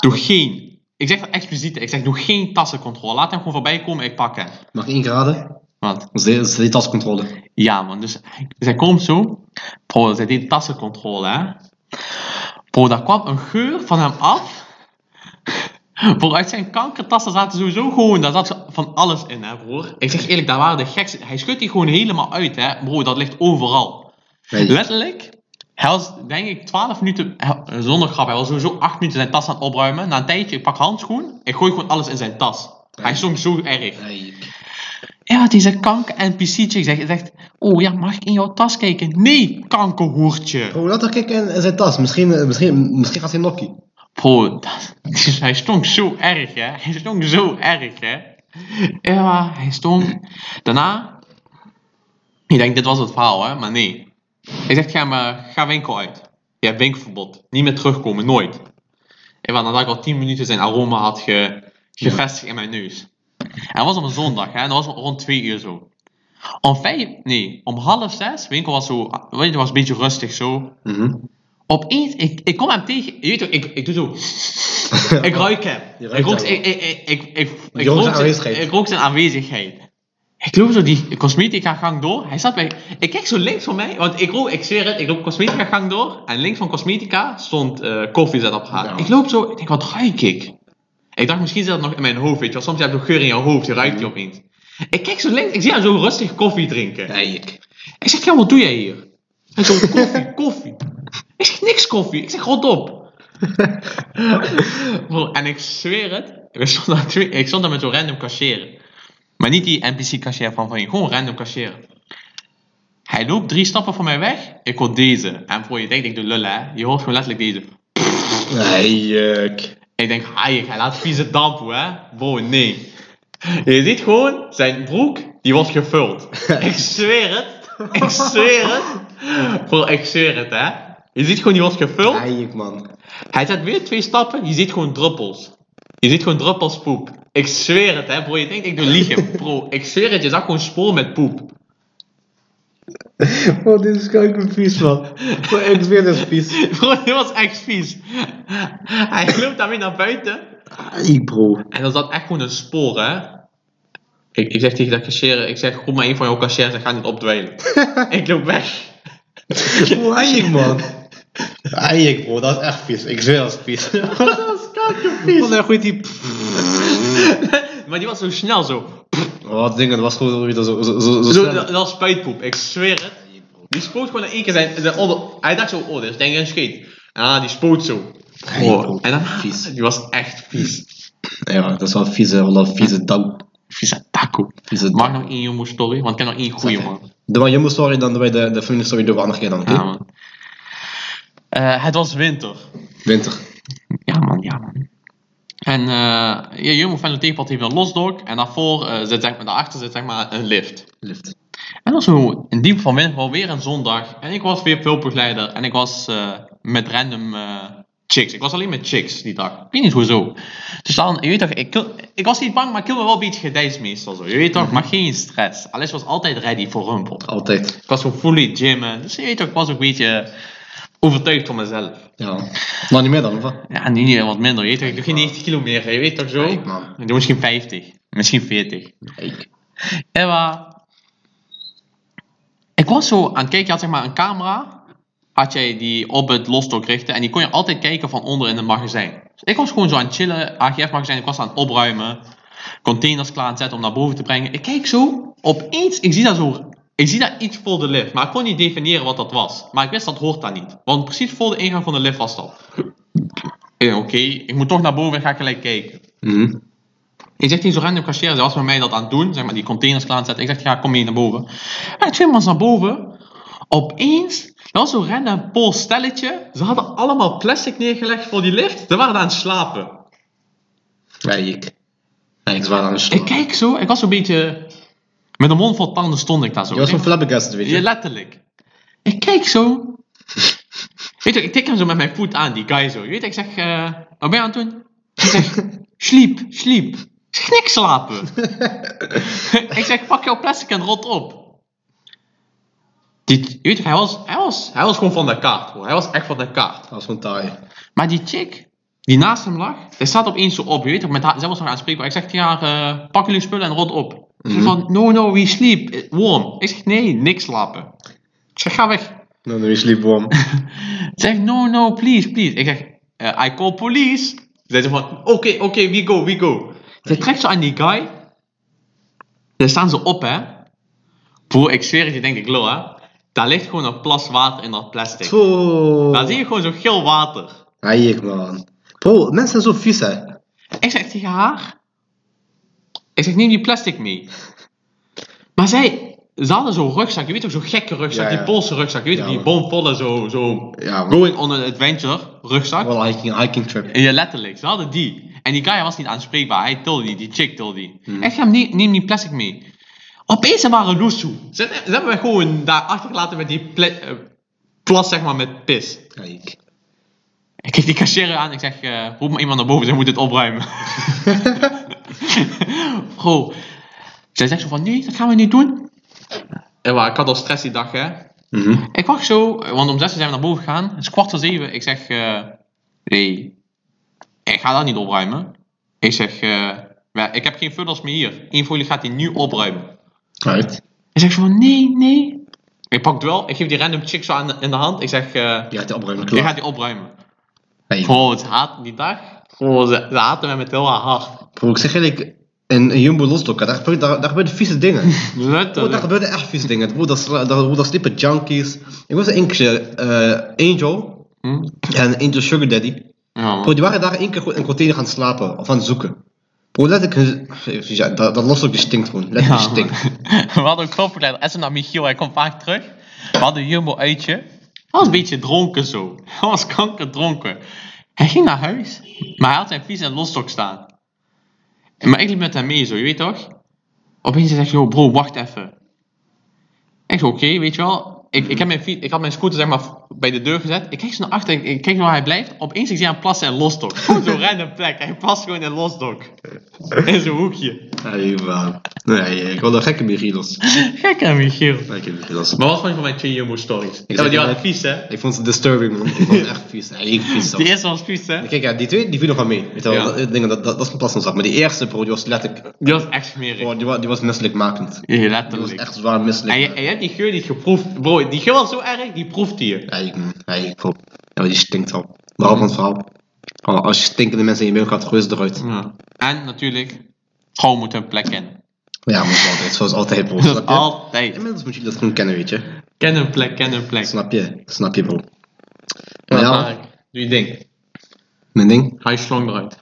Doe geen. Ik zeg dat expliciet, ik zeg doe geen tassencontrole. Laat hem gewoon voorbij komen, ik pak hem.
Mag ik één keer raden?
Want
Dat is de- dat is de tascontrole.
Ja, man. Dus hij- zij komt zo. Bro, zij deed tassencontrole, hè. Bro, daar kwam een geur van hem af. Bro, uit zijn kankertassen zaten sowieso gewoon... Daar zat van alles in, hè, broer. Ik zeg eerlijk, daar waren de gekste... Hij schudt die gewoon helemaal uit, hè. Bro, dat ligt overal.
Nee.
Letterlijk. Hij was, denk ik, 12 minuten... hij- Zonder grap, hij was sowieso 8 minuten zijn tas aan het opruimen. Na een tijdje, ik pak handschoen. Ik gooi gewoon alles in zijn tas. Hij stonk zo erg.
Nee.
Ja, deze kanker-NPC'tje zegt, zegt, oh ja, mag ik in jouw tas kijken? Nee, kankerhoertje.
Bro, laat toch kijken in- in zijn tas. Misschien, eh, misschien, misschien gaat hij nokkie.
Bro, dat- hij stonk zo erg, hè. Hij stonk zo erg, hè. Ja, hij stonk. Daarna, ik denk, dit was het verhaal, hè, maar nee. Hij zegt, ga, maar, ga winkel uit. Je hebt winkelverbod. Niet meer terugkomen, nooit. En want nadat ik al 10 minuten zijn aroma had ge, gevestigd in mijn neus. En dat was op een zondag, hè, en dat was rond 2 uur zo. Om vijf, nee, om half zes, winkel was zo, weet je, was een beetje rustig zo. Opeens, ik, ik kom hem tegen, je weet toch, ik, ik doe zo. ik ruik hem.
Je
ik,
ruikt
rook,
hem.
ik, ik, ik, ik, ik,
rook
ik, rook
zijn
zijn-
aanwezigheid.
ik rook zijn aanwezigheid. Ik loop zo die cosmetica gang door. Hij zat bij. Ik kijk zo links van mij, want ik rook, ik zweer het, ik loop cosmetica gang door. En links van cosmetica stond eh koffiezetapparaat.
Ja.
Ik loop zo, ik denk, wat ruik ik? Ik dacht, misschien zit dat nog in mijn hoofd, weet je wel. Soms heb je nog geur in je hoofd, je ruikt die opeens. Ik kijk zo links, ik zie hem zo rustig koffie drinken.
Nee.
Ik zeg, ja, wat doe jij hier? Hij zo, koffie, koffie. Ik zeg, niks koffie. Ik zeg, rot op. Bro, en ik zweer het, ik stond daar, twee- ik stond daar met zo'n random cashier. Maar niet die NPC-cashier van van je, gewoon random cashier. Hij loopt drie stappen van mij weg, ik hoor deze. En voor je denkt, ik doe lullen, hè. Je hoort gewoon letterlijk deze.
Nee.
Ik denk, haai, hij laat vieze damp, hoe, hè? Bro, nee. Je ziet gewoon, zijn broek, die wordt gevuld. Ik zweer het. Ik zweer het. Bro, ik zweer het, hè. Je ziet gewoon, die wordt gevuld.
Nee, man.
Hij zet weer twee stappen, je ziet gewoon druppels. Je ziet gewoon druppels poep. Ik zweer het, hè, bro. Je denkt, ik doe liegen. Bro, ik zweer het, je zag gewoon spoor met poep.
Oh, dit is kijk vies, man. Oh, ik zweer, dit is vies.
Bro, dit was echt vies. Hij loopt daarmee naar buiten.
Ai, bro.
En dan zat echt gewoon een spoor, hè. Ik, ik zeg tegen dat cashier, ik zeg, goed maar één van jouw cashiers en ga niet opdwijlen. ik loop weg.
Hoe eik, man. Eik, bro, dat is echt vies. Ik zweer dat is vies.
dat is kankervies.
Wat een goeie die...
maar die was zo snel zo.
Oh, dat ding, dat was gewoon weer zo, zo, zo, zo
zo
snel.
dat, dat was spuitpoep, ik zweer het. Die spoot gewoon in één keer zijn... zijn onder- hij dacht zo, oh, dit is denk ik een scheet. Ah, die spoot zo. Oh,
Eik, bro.
en dan, Die was echt vies.
Ja, dat is wel een vieze, wel een vieze douw.
Vieze taco.
Vieze
Maak
douw.
nog één jonge story, want ik heb nog één goede
Zet, hè.
man.
Doe maar Jumbo Story, dan doen wij de, de familie Story doen we een andere keer dan. oké?
Ja, man. Eh, het was winter.
Winter.
Ja, man, ja, man. En eh ja, Jumbo van de tegenpad heeft een losdok. En daarvoor eh, zit, zeg maar, daarachter zit zeg maar een lift.
Lift.
En dan zo in diep van winter, wel weer een zondag. En ik was weer pulpbegeleider. En ik was eh, met random eh, chicks. Ik was alleen met chicks die dag. Ik weet niet hoezo. Dus dan, je weet toch, ik, kil- ik was niet bang, maar ik hield me wel een beetje gedijs meestal. Zo. Je weet toch, maar geen stress. Alice was altijd ready voor rumpel.
Altijd.
Ik was zo fully gymmen. Dus je weet toch, ik was ook een beetje overtuigd van mezelf.
Ja. Nou, niet meer dan, of wat?
Ja, nu niet, wat minder. Je weet toch, ik doe geen 90 kilo meer. Je weet toch zo?
Kijk, man.
Ik doe misschien 50. Misschien 40. Emma. Ik was zo aan het kijken, je had zeg maar een camera. Had jij die op het losdok richten. En die kon je altijd kijken van onder in het magazijn. Dus ik was gewoon zo aan het chillen. AGF magazijn, ik was aan het opruimen. Containers klaar aan het zetten om naar boven te brengen. Ik kijk zo, opeens, ik zie daar zo... Ik zie daar iets voor de lift, maar ik kon niet definiëren wat dat was. Maar ik wist dat hoort daar niet. Want precies voor de ingang van de lift was dat. Eh, Oké, ik moet toch naar boven en ga gelijk kijken.
Mhm.
Ik zeg tegen zo'n random cashier, zij was met mij dat aan het doen, zeg maar, die containers klaar aan het zetten. Ik zeg, ja, kom mee naar boven. En twee man naar boven. Opeens, dat was zo'n random Pools stelletje. Ze hadden allemaal plastic neergelegd voor die lift. Ze waren aan het slapen.
Eik. Eik, zwaar aan de slag.
Ik kijk zo, ik was zo'n beetje... Met een mond vol tanden stond ik daar zo.
Je was
Ik
een flabbergast, weet
Ja,
je.
letterlijk. Ik kijk zo. weet je, ik tik hem zo met mijn voet aan, die guy zo. Je weet, ik zeg, eh wat ben je aan het doen? Hij zegt, sliep, sliep. Ik zeg, niks slapen. ik zeg, pak jouw plastic en rot op. Die, je weet, toch, hij was, hij, was, hij was gewoon van de kaart, hoor. Hij was echt van de kaart.
Dat was gewoon taai.
Maar die chick, die naast hem lag, die staat opeens zo op. Je weet toch, met haar, zij was nog aanspreekbaar. Ik zeg tegen haar, eh, pak jullie spullen en rot op. Ze van, no, no, we sleep, eh, warm. Ik zeg, nee, niks slapen. Ik zeg, ga weg.
Nou, nu is Liepworm.
Ze zegt, no, no, please, please. Ik zeg, eh, I call police. Zij zegt van, oké, oké, we go, we go. Ze trekt zo aan die guy. Daar staan ze op, hè. Broer, ik zweer het, je denkt, ik lul, hè. Daar ligt gewoon een plas water in dat plastic. Daar zie je gewoon zo geel water.
Eik, man. Bro, mensen zijn zo vies, hè.
Ik zeg tegen haar. Ik zeg, neem die plastic mee. Maar zij, ze hadden zo'n rugzak, je weet toch, zo'n gekke rugzak,
Ja, ja.
die Poolse rugzak, je weet
Ja,
toch, die
man.
bomvolle, zo, zo,
Ja, man.
going on an adventure rugzak.
Wel een hiking, hiking trip.
Ja, letterlijk, ze hadden die. En die guy was niet aanspreekbaar, hij tilde die, die chick tilde die.
Mhm.
Ik zeg, neem, neem die plastic mee. Opeens ze waren loes toe. Ze, ze hebben mij gewoon daar achtergelaten met die pla- eh, plas, zeg maar, met pis.
Eik.
Ik kijk die cashier aan. Ik zeg, eh, roep maar iemand naar boven. Zij moet dit opruimen. Bro. Zij zegt zo van, nee, dat gaan we niet doen. En waar, ik had al stress die dag, hè.
Mhm.
Ik wacht zo, eh, want om zes uur zijn we naar boven gegaan. Het is kwart voor zeven. Ik zeg, eh, nee, ik ga dat niet opruimen. Ik zeg, eh, "Wij- ik heb geen funnels meer hier. Eén van jullie gaat die nu opruimen.
Uit.
Hij zegt zo van, nee, nee. Ik pak het wel. Ik geef die random chick zo aan, in de hand. Ik zeg, eh
Je gaat de opruimen
je
klaar.
gaat die opruimen.
Eik.
Bro, ze haat die dag. Bro, ze, ze haatte mij met heel haar hart.
Bro, ik zeg eerlijk, in in Jumbo Losdok, daar gebeurde- daar daar gebeurden vieze dingen. Bro, daar
Letterlijk.
gebeurden echt vieze dingen. Bro, daar sla- daar bro, daar sliepen junkies. Ik was één keer eh, Angel
Hm?
en Angel Sugar Daddy.
Ja, man.
Bro, die waren daar één keer gewoon in een container gaan slapen of aan het zoeken. Bro, letterlijk, hun- ja, dat, dat Losdok die stinkt gewoon.
Ja,
Letterlijk
man.
stinkt.
Dus We hadden een klopverleider. En ze naar Michiel, hij komt vaak terug. We hadden een jumbo uitje. Hij was een beetje dronken zo. Hij was kankerdronken. Hij ging naar huis. Maar hij had zijn fiets en losstok staan. En Maar ik liep met hem mee zo, je weet toch? Opeens zegt hij, "Yo, bro, wacht even. Ik zeg, oké, weet je wel. Ik, ik, heb mijn fiets, ik had mijn scooter zeg maar bij de deur gezet. Ik kijk zo naar achter, ik, ik kijk naar waar hij blijft. Opeens ik zie hem plassen in Losdok. Gewoon zo'n random plek. Hij plast gewoon in Losdok. In zo'n hoekje.
Nee, man. Nee, ik wilde gekke Michiels.
Gek aan Michiel.
Gekke Michiels.
Maar wat vond je van mijn Chiyumo stories?
Ik
Ja, maar die
zeg
waren
maar-
vies hè?
Ik vond het disturbing, man. Ik vond het echt vies. Nee, ik vies
Die
dat.
eerste was vies hè?
Kijk, ja, die twee, die viel nog wel mee. Weet je wel,
Ja.
dat, ik denk dat, dat, dat is mijn pas nog zat. Maar die eerste, bro, die was letterlijk...
Die was echt smerig.
bro, die, was, die was misselijkmakend.
Ja,
Die was
letterlijk.
echt zwaar
En je,
misselijk.
en je hebt die geur niet geproefd. Bro, die geur was zo erg, die proefde je.
Nee, man. Nee, bro. Ja, maar die stinkt al. Waarom van het verhaal? Oh, als je stinkende mensen in je mail gaat, gooi ze eruit.
En natuurlijk, vrouw moet hun plek kennen.
Ja, maar zoals altijd, zoals altijd, bro.
Dat is
Snap je?
altijd.
Inmiddels moet je dat gewoon kennen, weet je.
Ken een plek, ken een plek.
Snap je? Snap je, bro.
Maar
Maar
ja,
ja,
Mark, doe je ding.
mijn ding.
Haal je slong eruit.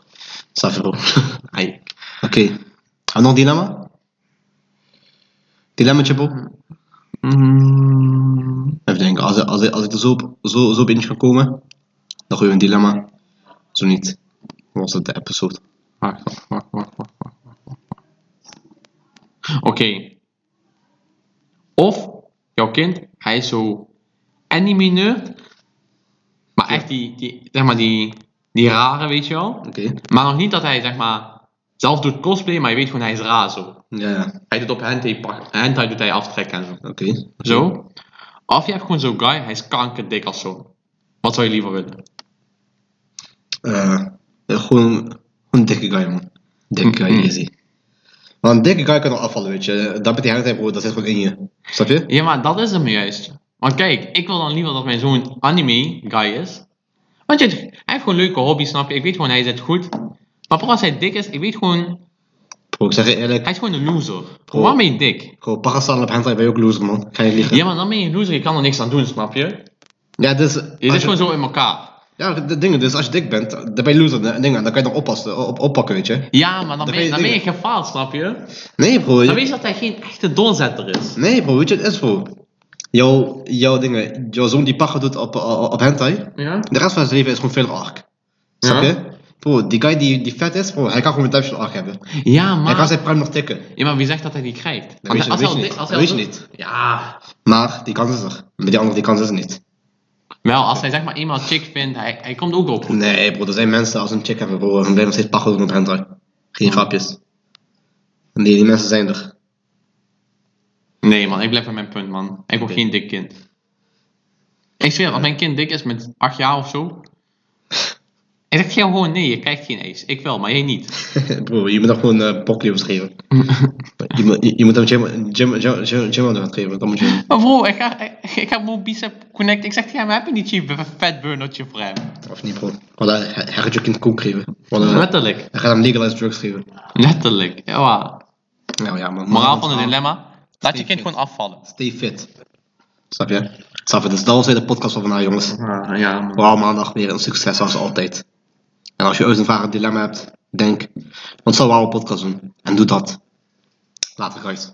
Snap je, bro. Ai. Oké. En nog dilemma? Dilemmetje, bro?
Mhm.
Even denken. Als, als, als ik er zo op, zo, zo op in kan komen, dan gooi je een dilemma. Zo niet. Dan was het de episode.
Wacht, wacht, wacht, wacht, wacht, wacht, wacht, wacht, wacht. Oké. Of jouw kind, hij is zo anime nerd, maar echt die, die, zeg maar die, die rare, weet je wel.
Oké.
Maar nog niet dat hij, zeg maar, zelf doet cosplay, maar je weet gewoon hij is raar zo.
Ja, ja.
Hij doet op hentai, pak- hentai doet hij aftrekken en zo.
Oké.
Zo. Of je hebt gewoon zo'n guy, hij is kankerdik als zo. Wat zou je liever willen?
Eh, gewoon een dikke guy, man. Dikke guy,
Mhm.
easy. Want een dikke guy kan al afvallen, weet je. Dat betekent hij, bro, dat zit gewoon in je. Snap je?
Ja, maar dat is hem juist. Want kijk, ik wil dan liever dat mijn zoon anime guy is. Want je, hij heeft gewoon leuke hobby's, snap je? Ik weet gewoon, hij zit goed. Maar vooral als hij dik is, ik weet gewoon,
Bro, ik zeg je eerlijk.
hij is gewoon een loser. Waarom ben je dik?
Gewoon parastaan op hentai ben je ook loser, man. Ga je niet liegen.
Ja, maar dan ben je een loser, je kan er niks aan doen, snap je?
Ja, dus...
Je zit
als je-
gewoon zo in elkaar.
Ja, de dingen, dus als je dik bent, dan ben je loser. de Dingen, dan kan je nog oppassen, eh, op, oppakken, weet je.
Ja, maar dan
Dan
ben je,
ben
dan
je
ben je gefaald, snap je?
Nee, bro. je-
Dan weet je dat hij geen echte doorzetter is.
Nee, bro, weet je, het is bro. Jouw, jouw dingen, jouw zoon die pacha doet op, eh, op, op hentai,
Ja?
de rest van zijn leven is gewoon verder ark. Snap
Ja.
je? Bro, die guy die, die vet is, bro, hij kan gewoon een duimpje ark hebben.
Ja,
Hij kan
maar...
zijn prime nog tikken.
Ja, maar wie zegt dat hij die krijgt?
Dat weet je,
als
dat weet
hij al
je
dik-
niet. Dat
als hij
weet je
al
niet.
dik- Ja,
Maar die kans is er. Met die andere, die kans is er niet.
wel, als hij zeg maar eenmaal chick vindt, hij, hij komt ook op.
Nee, bro, er zijn mensen als een chick hebben, bro, en blijven nog steeds pacha doen op hentai. Geen grapjes. Nee, die mensen zijn er.
Nee man, ik blijf bij mijn punt man. Ik wil
Oké.
geen dik kind. Ik zweer, als mijn kind dik is met 8 jaar of zo. Ik zeg jou gewoon nee, je krijgt geen ace. Ik wel, maar jij niet.
Bro, je moet hem gewoon eh boklevens geven. je, moet- je, je moet hem gym, gym, gym, gym, gym aan geven, dan moet je...
Maar bro, ik ga, ik, ik ga mijn bicep connect. Ik zeg tegen hem, heb je niet je fat burnertje voor hem?
Of niet, bro. Want hij, hij hij gaat je kind koek geven. Want, eh,
Letterlijk.
hij gaat hem legalized drugs geven.
Letterlijk. Ja, waar.
Nou ja, man.
Moraal
man,
van het
man,
dilemma. Laat je kind gewoon afvallen.
Stay fit. Snap je? Snap je? Dus dat was weer de podcast van vandaag, jongens.
Ah, Ja man.
Vooral maandag weer een succes, zoals altijd. En als je ooit een vraag of dilemma hebt, denk... Want zal wel een podcast doen. En doe dat. Later, guys.